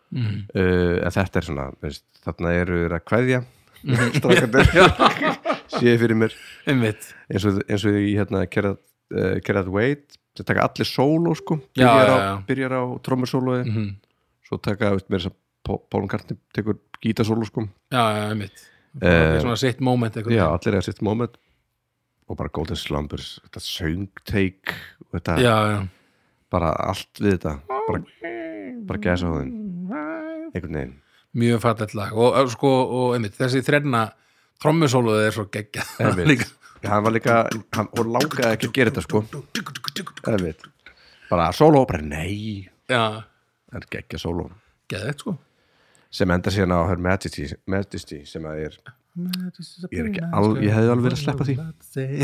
[SPEAKER 2] Mhm.
[SPEAKER 1] en þetta er svona, veist, þarna eru þeir að kveðja
[SPEAKER 2] Mhm.
[SPEAKER 1] *laughs* strakkandur *laughs* sé fyrir mér
[SPEAKER 2] Einmitt,
[SPEAKER 1] eins og, eins og í hérna carry that, uh, carry that weight það taka allir sóló sko
[SPEAKER 2] Já, já,
[SPEAKER 1] byrjar, á,
[SPEAKER 2] já.
[SPEAKER 1] byrjar á trommusólói
[SPEAKER 2] Mhm.
[SPEAKER 1] svo taka, veist, mér þess að Pólum Kartni tekur gítasólu sko
[SPEAKER 2] já, já, einmitt
[SPEAKER 1] Eh,
[SPEAKER 2] Svona sitt moment eitthvað
[SPEAKER 1] já, allir eða sitt moment og bara Golden Slumbers, þetta söngteik og þetta,
[SPEAKER 2] já, já.
[SPEAKER 1] bara allt við þetta bara, bara gæsa á þeim einhvern veginn
[SPEAKER 2] mjög fallegt lag og, og, sko, og einmitt, þessi þrenna trommusóluð er svo geggjað *laughs*
[SPEAKER 1] Einmitt.
[SPEAKER 2] Líka.
[SPEAKER 1] hann var líka, hann, og langaði ekki að gera þetta sko Einmitt. bara sóló, bara nei
[SPEAKER 2] já,
[SPEAKER 1] en geggja sóló
[SPEAKER 2] geðvegt sko
[SPEAKER 1] sem enda síðan á Her Majesty, Majesty sem að er, ég er ekki alveg ég hefði alveg verið að sleppa því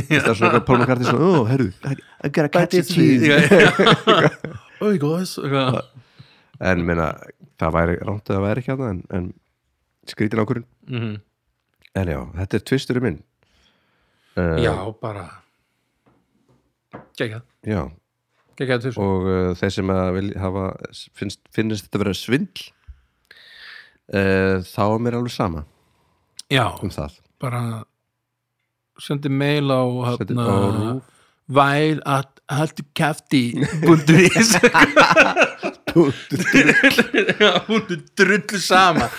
[SPEAKER 2] því
[SPEAKER 1] það er svona Pólum Kartni svona, ó, herru, I gotta catch it too
[SPEAKER 2] oi góðs já,
[SPEAKER 1] en minna, það væri rámt að það væri ekki að það en, en skrítin ákvörun en já, þetta er tvisturinn minn uh,
[SPEAKER 2] bara geggjað
[SPEAKER 1] já.
[SPEAKER 2] geggjað tvisvar.
[SPEAKER 1] og uh, þeir sem að vil hafa finnst, finnst þetta vera svindl uh, þá er mér alveg sama
[SPEAKER 2] já,
[SPEAKER 1] um það
[SPEAKER 2] bara sendi mail á
[SPEAKER 1] Sendi-
[SPEAKER 2] hérna,
[SPEAKER 1] á RÚV.
[SPEAKER 2] væl að haldi kæfti bundur ís Já, hún er drullu sama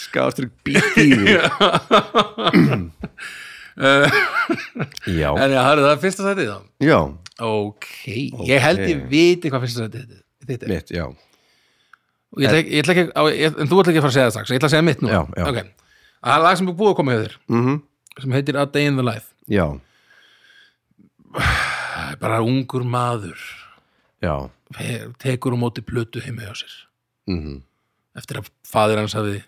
[SPEAKER 1] skástur bíti já,
[SPEAKER 2] En já, það er það fyrsta sætið þá
[SPEAKER 1] já,
[SPEAKER 2] Ok, ég held ég viti hvað fyrsta sætið þetta er
[SPEAKER 1] mitt, já
[SPEAKER 2] Og ég ætla ekki- ég ætla ekki, á, ég, En þú ætla ekki að fara að segja það strax Ég ætla að segja mitt nú
[SPEAKER 1] Já, já.
[SPEAKER 2] Ok. Að Það er lag sem er búið að koma hjá þér
[SPEAKER 1] mm
[SPEAKER 2] sem heitir A Day in the Life
[SPEAKER 1] já,
[SPEAKER 2] Það er bara ungur maður
[SPEAKER 1] já
[SPEAKER 2] he- tekur á móti plötu heima hjá sér
[SPEAKER 1] mm
[SPEAKER 2] eftir að faðir hans hafi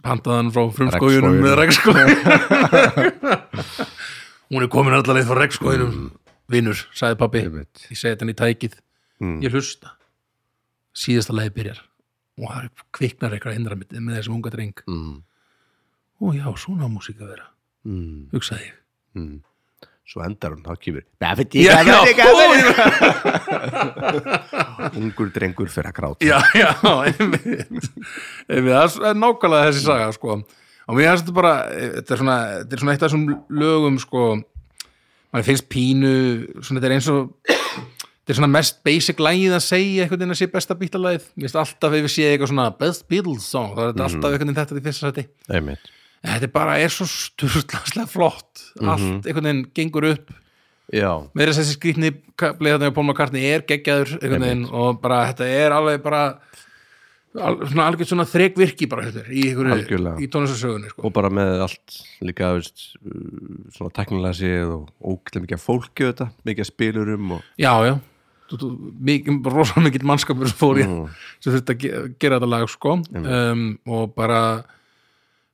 [SPEAKER 2] pantað hann frá frumskójunum
[SPEAKER 1] Regnskóginum.
[SPEAKER 2] með regnskójunum *laughs* hún er komin allaveg frá regnskójunum vinnur, sagði pappi
[SPEAKER 1] Mm. Einmitt.
[SPEAKER 2] ég segi þetta hann í tækið,
[SPEAKER 1] Mm.
[SPEAKER 2] ég hlusta síðasta lagi byrjar og það er kviknar eitthvað hindra mitt með þessum unga dreng,
[SPEAKER 1] Mm.
[SPEAKER 2] ó já, svona á músík að vera
[SPEAKER 1] Mm.
[SPEAKER 2] hugsaði ég
[SPEAKER 1] Mm. svo endar hún, þá kýfur
[SPEAKER 2] já, já, ó,
[SPEAKER 1] ungur drengur fyrir að gráta
[SPEAKER 2] já, já, einmitt Einmitt, það er nákvæmlega þessi saga sko. og mér finnst þetta bara eh, þetta er svona, þetta er svona eitt af þessum lögum sko, maður finnst pínu svona, þetta er eins og þetta er svona mest basic lagið að segja einhvern veginn að sé besta bítalagið, mér finnst alltaf ef við séð eitthvað svona best Beatles song þá er þetta alltaf einhvern veginn þetta í fyrsta sæti
[SPEAKER 1] einmitt
[SPEAKER 2] En þetta er bara, er svo sturðlanslega flott allt einhvern veginn gengur upp
[SPEAKER 1] já,
[SPEAKER 2] með þess að þessi skrýtni kaplið þarna hjá Paul McCartney er geggjaður einhvern veginn og bara þetta er alveg bara al, svona algjörð svona þrekvirki bara hérna í, einhverju-
[SPEAKER 1] Algjörlega.
[SPEAKER 2] í tónlistarsögunni sko.
[SPEAKER 1] og bara með allt líka veist, uh, svona teknilega séð og ógætlega mikið af fólki þetta, mikið af spilurum og
[SPEAKER 2] já, já, þú- þú- mikið, rosa mikill mannskapur sem fór í
[SPEAKER 1] Mm.
[SPEAKER 2] sem þurfti að ge- gera þetta lag sko um, og bara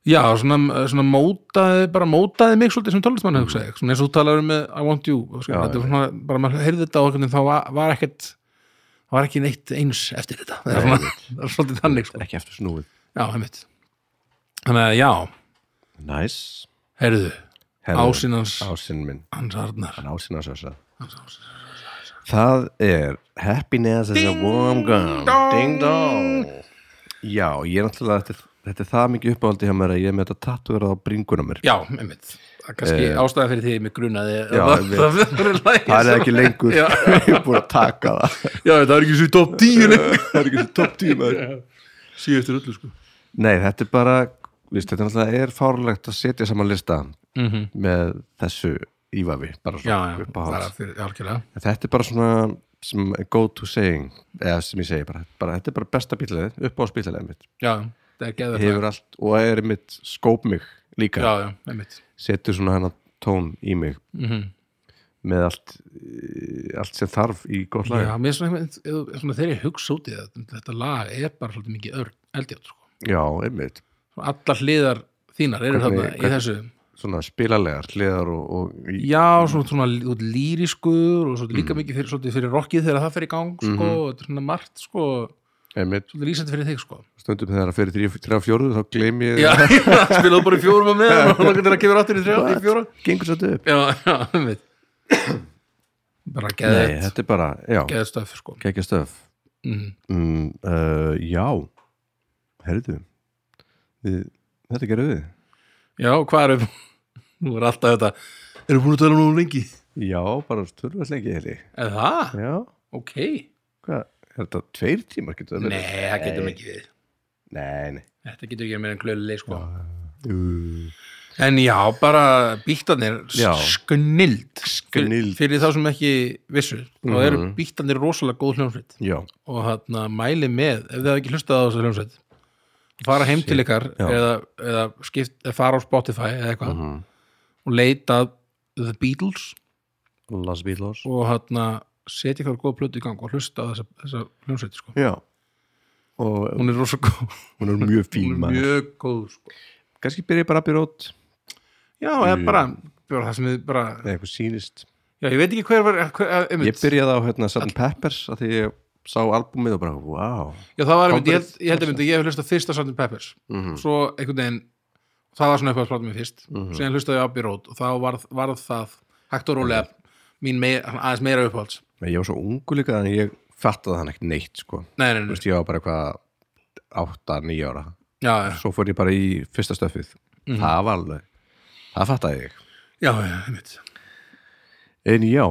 [SPEAKER 2] já, svona, svona mótaði bara mótaði mig svolítið sem tónlistmann hugsa ég, svona eins og þú talaður um með I Want You og sko,
[SPEAKER 1] Já,
[SPEAKER 2] þetta var svona, bara maður heyrði þetta og einhvern veginn, þá var, var ekkert það var ekki neitt eins eftir þetta það er, svona, *laughs* það er svolítið þannig sko.
[SPEAKER 1] ekki eftir snúið
[SPEAKER 2] já, heimitt þannig að já,
[SPEAKER 1] næs
[SPEAKER 2] heyrðu,
[SPEAKER 1] Herðu,
[SPEAKER 2] ásinn hans
[SPEAKER 1] ásinn minn,
[SPEAKER 2] hans Arnar
[SPEAKER 1] ásinn að sösa það er happiness is a warm gun ding dong já, ég er náttúrulega þetta, er- þetta er það mikið uppáhaldi hjá mér að ég er með þetta tattuverað á bringunum mér
[SPEAKER 2] já, heimitt, það er kannski ástæða fyrir því ég mig grunaði að
[SPEAKER 1] Eh, Já,
[SPEAKER 2] það,
[SPEAKER 1] einmitt.
[SPEAKER 2] það, það, er lagið
[SPEAKER 1] það er
[SPEAKER 2] sem-
[SPEAKER 1] ekki lengur
[SPEAKER 2] Já.
[SPEAKER 1] *laughs* ég er búin að taka það
[SPEAKER 2] *laughs* já, það er ekki svo í topp
[SPEAKER 1] Eh,
[SPEAKER 2] 10 lengur
[SPEAKER 1] það er ekki svo topp tíma
[SPEAKER 2] síðu eftir öllu sko
[SPEAKER 1] nei, þetta er bara viðst, þetta er náttúrulega er fárlegt að setja saman lista
[SPEAKER 2] Mhm.
[SPEAKER 1] með þessu ívafi bara
[SPEAKER 2] já,
[SPEAKER 1] svona
[SPEAKER 2] já, það
[SPEAKER 1] uppáhalds
[SPEAKER 2] er fyrir algjörlega
[SPEAKER 1] En þetta er bara svona sem go to saying eða sem ég segi bara, bara þetta er bara besta bílæðið, upp á spílæðið mitt
[SPEAKER 2] já, það er geðvægt
[SPEAKER 1] hefur allt og er mitt skóp mig líka,
[SPEAKER 2] já, já, einmitt
[SPEAKER 1] setur svona hennar tón í mig
[SPEAKER 2] mm
[SPEAKER 1] með allt eh, allt sem þarf í gott lag
[SPEAKER 2] já, mér er svona, einhvern- eða- svona þegar ég hugsa út í þetta þetta lag er bara svolítið mikið örn eldjátt sko.
[SPEAKER 1] já einmitt,
[SPEAKER 2] Svona allar hliðar þínar eru
[SPEAKER 1] Hvernig-
[SPEAKER 2] þarna í
[SPEAKER 1] hvernig-
[SPEAKER 2] þessu
[SPEAKER 1] svona spilalegar hliðar og, og í,
[SPEAKER 2] já, svona, svona út lýriskur og svolítið líka
[SPEAKER 1] Mm.
[SPEAKER 2] mikið fyrir, svolítið fyrir rockið þegar það fer í gang
[SPEAKER 1] Mhm.
[SPEAKER 2] sko, og þetta er svona margt sko,
[SPEAKER 1] einmitt,
[SPEAKER 2] svolítið lýsandi fyrir þig sko.
[SPEAKER 1] stundum þegar það fyrir 3-4 þá gleym ég
[SPEAKER 2] *laughs* já, spilaðu bara í fjórum og með og það getur að kemur áttur í þrjá, í fjóra
[SPEAKER 1] gengur svolítið upp
[SPEAKER 2] já, já, einmitt *clears throat* bara
[SPEAKER 1] Nei,
[SPEAKER 2] geðið
[SPEAKER 1] þetta er bara, já,
[SPEAKER 2] geðið stöf sko.
[SPEAKER 1] kekja stöf
[SPEAKER 2] mm.
[SPEAKER 1] mm, uh, Já Herðu við, Þetta gerum við
[SPEAKER 2] Já, hvað er Nú er alltaf þetta Erum búin að tala um nógu lengi?
[SPEAKER 1] Já, bara törfast lengi heli
[SPEAKER 2] Er það?
[SPEAKER 1] Já,
[SPEAKER 2] Ok
[SPEAKER 1] hvað, er þetta tveir tímar getur það
[SPEAKER 2] Nei,
[SPEAKER 1] verið?
[SPEAKER 2] það getum ekki við
[SPEAKER 1] Nei, nei
[SPEAKER 2] Þetta getur ekki meira en glöðlega sko
[SPEAKER 1] uh,
[SPEAKER 2] En já, bara bíktarnir
[SPEAKER 1] Já.
[SPEAKER 2] sknild
[SPEAKER 1] Sknild.
[SPEAKER 2] Fyrir þá sem ekki vissu Þá eru bíktarnir rosalega góð hljómsveit
[SPEAKER 1] Já,
[SPEAKER 2] Og hann mæli með Ef þið hafa ekki hlustað á þessa hljómsveit Fara heim til ykkar
[SPEAKER 1] Já.
[SPEAKER 2] eða, eða, skipt, eða fara á Spotify eða eitthvað
[SPEAKER 1] Mhm.
[SPEAKER 2] og leita að The Beatles
[SPEAKER 1] Las Beatles
[SPEAKER 2] og hann setja ykkur góð plötu í gang og hlusta á þessa, þessa hljómsveiti sko.
[SPEAKER 1] Já Og eh,
[SPEAKER 2] hún er rosa góð
[SPEAKER 1] hún er mjög fín
[SPEAKER 2] hún er
[SPEAKER 1] maður
[SPEAKER 2] mjög góð sko.
[SPEAKER 1] Kannski byrja ég bara að byrja út
[SPEAKER 2] já, eða bara, bara það sem við bara
[SPEAKER 1] Nei, eitthvað sýnist
[SPEAKER 2] já, ég veit ekki hver var hver, að,
[SPEAKER 1] Ég
[SPEAKER 2] einmitt,
[SPEAKER 1] byrjaði á hérna Sutton Peppers að því ég sá albúmið og bara, wow
[SPEAKER 2] já, það var einmitt, ég, held- ég held einmitt að ég hef hlusta fyrst á Sandin Peppers
[SPEAKER 1] Mhm.
[SPEAKER 2] svo einhvern veginn það var svona eitthvað að spráta mér fyrst mm -hmm. síðan hlustaði ég á Abbey Road og þá varð, varð það hægt og rólega mín meir, aðeins meira uppáhalds
[SPEAKER 1] Nei, Ég var svo ungu líka en ég fattaði hann ekkert neitt sko
[SPEAKER 2] nei, nei, nei,
[SPEAKER 1] Þú veist, ég var bara eitthvað 8-9 ára
[SPEAKER 2] já, já,
[SPEAKER 1] svo fór ég bara í fyrsta stöfið það var alveg, það fattaði ég
[SPEAKER 2] já, já, einmitt
[SPEAKER 1] en já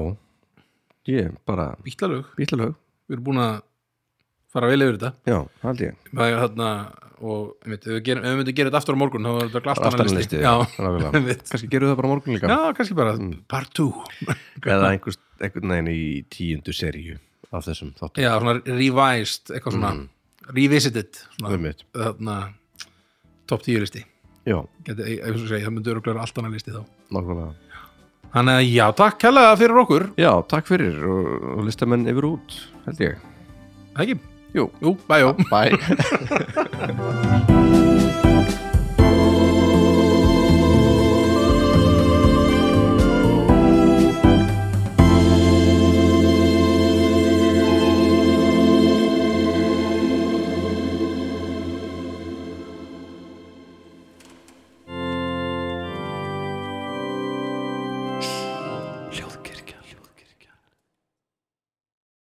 [SPEAKER 1] ég bara,
[SPEAKER 2] bítlalög,
[SPEAKER 1] bílalög
[SPEAKER 2] við erum búin að fara vel yfir þetta
[SPEAKER 1] já, það held ég,
[SPEAKER 2] Það er þarna og einmitt, ef við, gerum, ef við myndum gera þetta aftur á morgun þá er þetta
[SPEAKER 1] Bara
[SPEAKER 2] aftur
[SPEAKER 1] aftan
[SPEAKER 2] hann
[SPEAKER 1] á
[SPEAKER 2] listi
[SPEAKER 1] listi,
[SPEAKER 2] Já,
[SPEAKER 1] nákvæmlega.
[SPEAKER 2] *laughs*
[SPEAKER 1] Mm.
[SPEAKER 2] einmitt.
[SPEAKER 1] kannski gerum við það bara á morgun líka
[SPEAKER 2] Já, kannski bara part 2
[SPEAKER 1] eða einhvers, einhvern veginn í tíundu seríu af þessum þáttum
[SPEAKER 2] *laughs* Já, svona revised, eitthvað svona
[SPEAKER 1] Mm.
[SPEAKER 2] revisited svona,
[SPEAKER 1] Einmitt.
[SPEAKER 2] þarna top 10 listi
[SPEAKER 1] já,
[SPEAKER 2] Geti, ég, ég, ég, það myndi öruglega allt annað listi þá
[SPEAKER 1] nákvæmlega
[SPEAKER 2] Þannig að já, takk kærlega fyrir okkur
[SPEAKER 1] já, takk fyrir og, og listamenn yfir út held ég,
[SPEAKER 2] Það ekki?
[SPEAKER 1] jú
[SPEAKER 2] Jú, bæjó
[SPEAKER 1] bye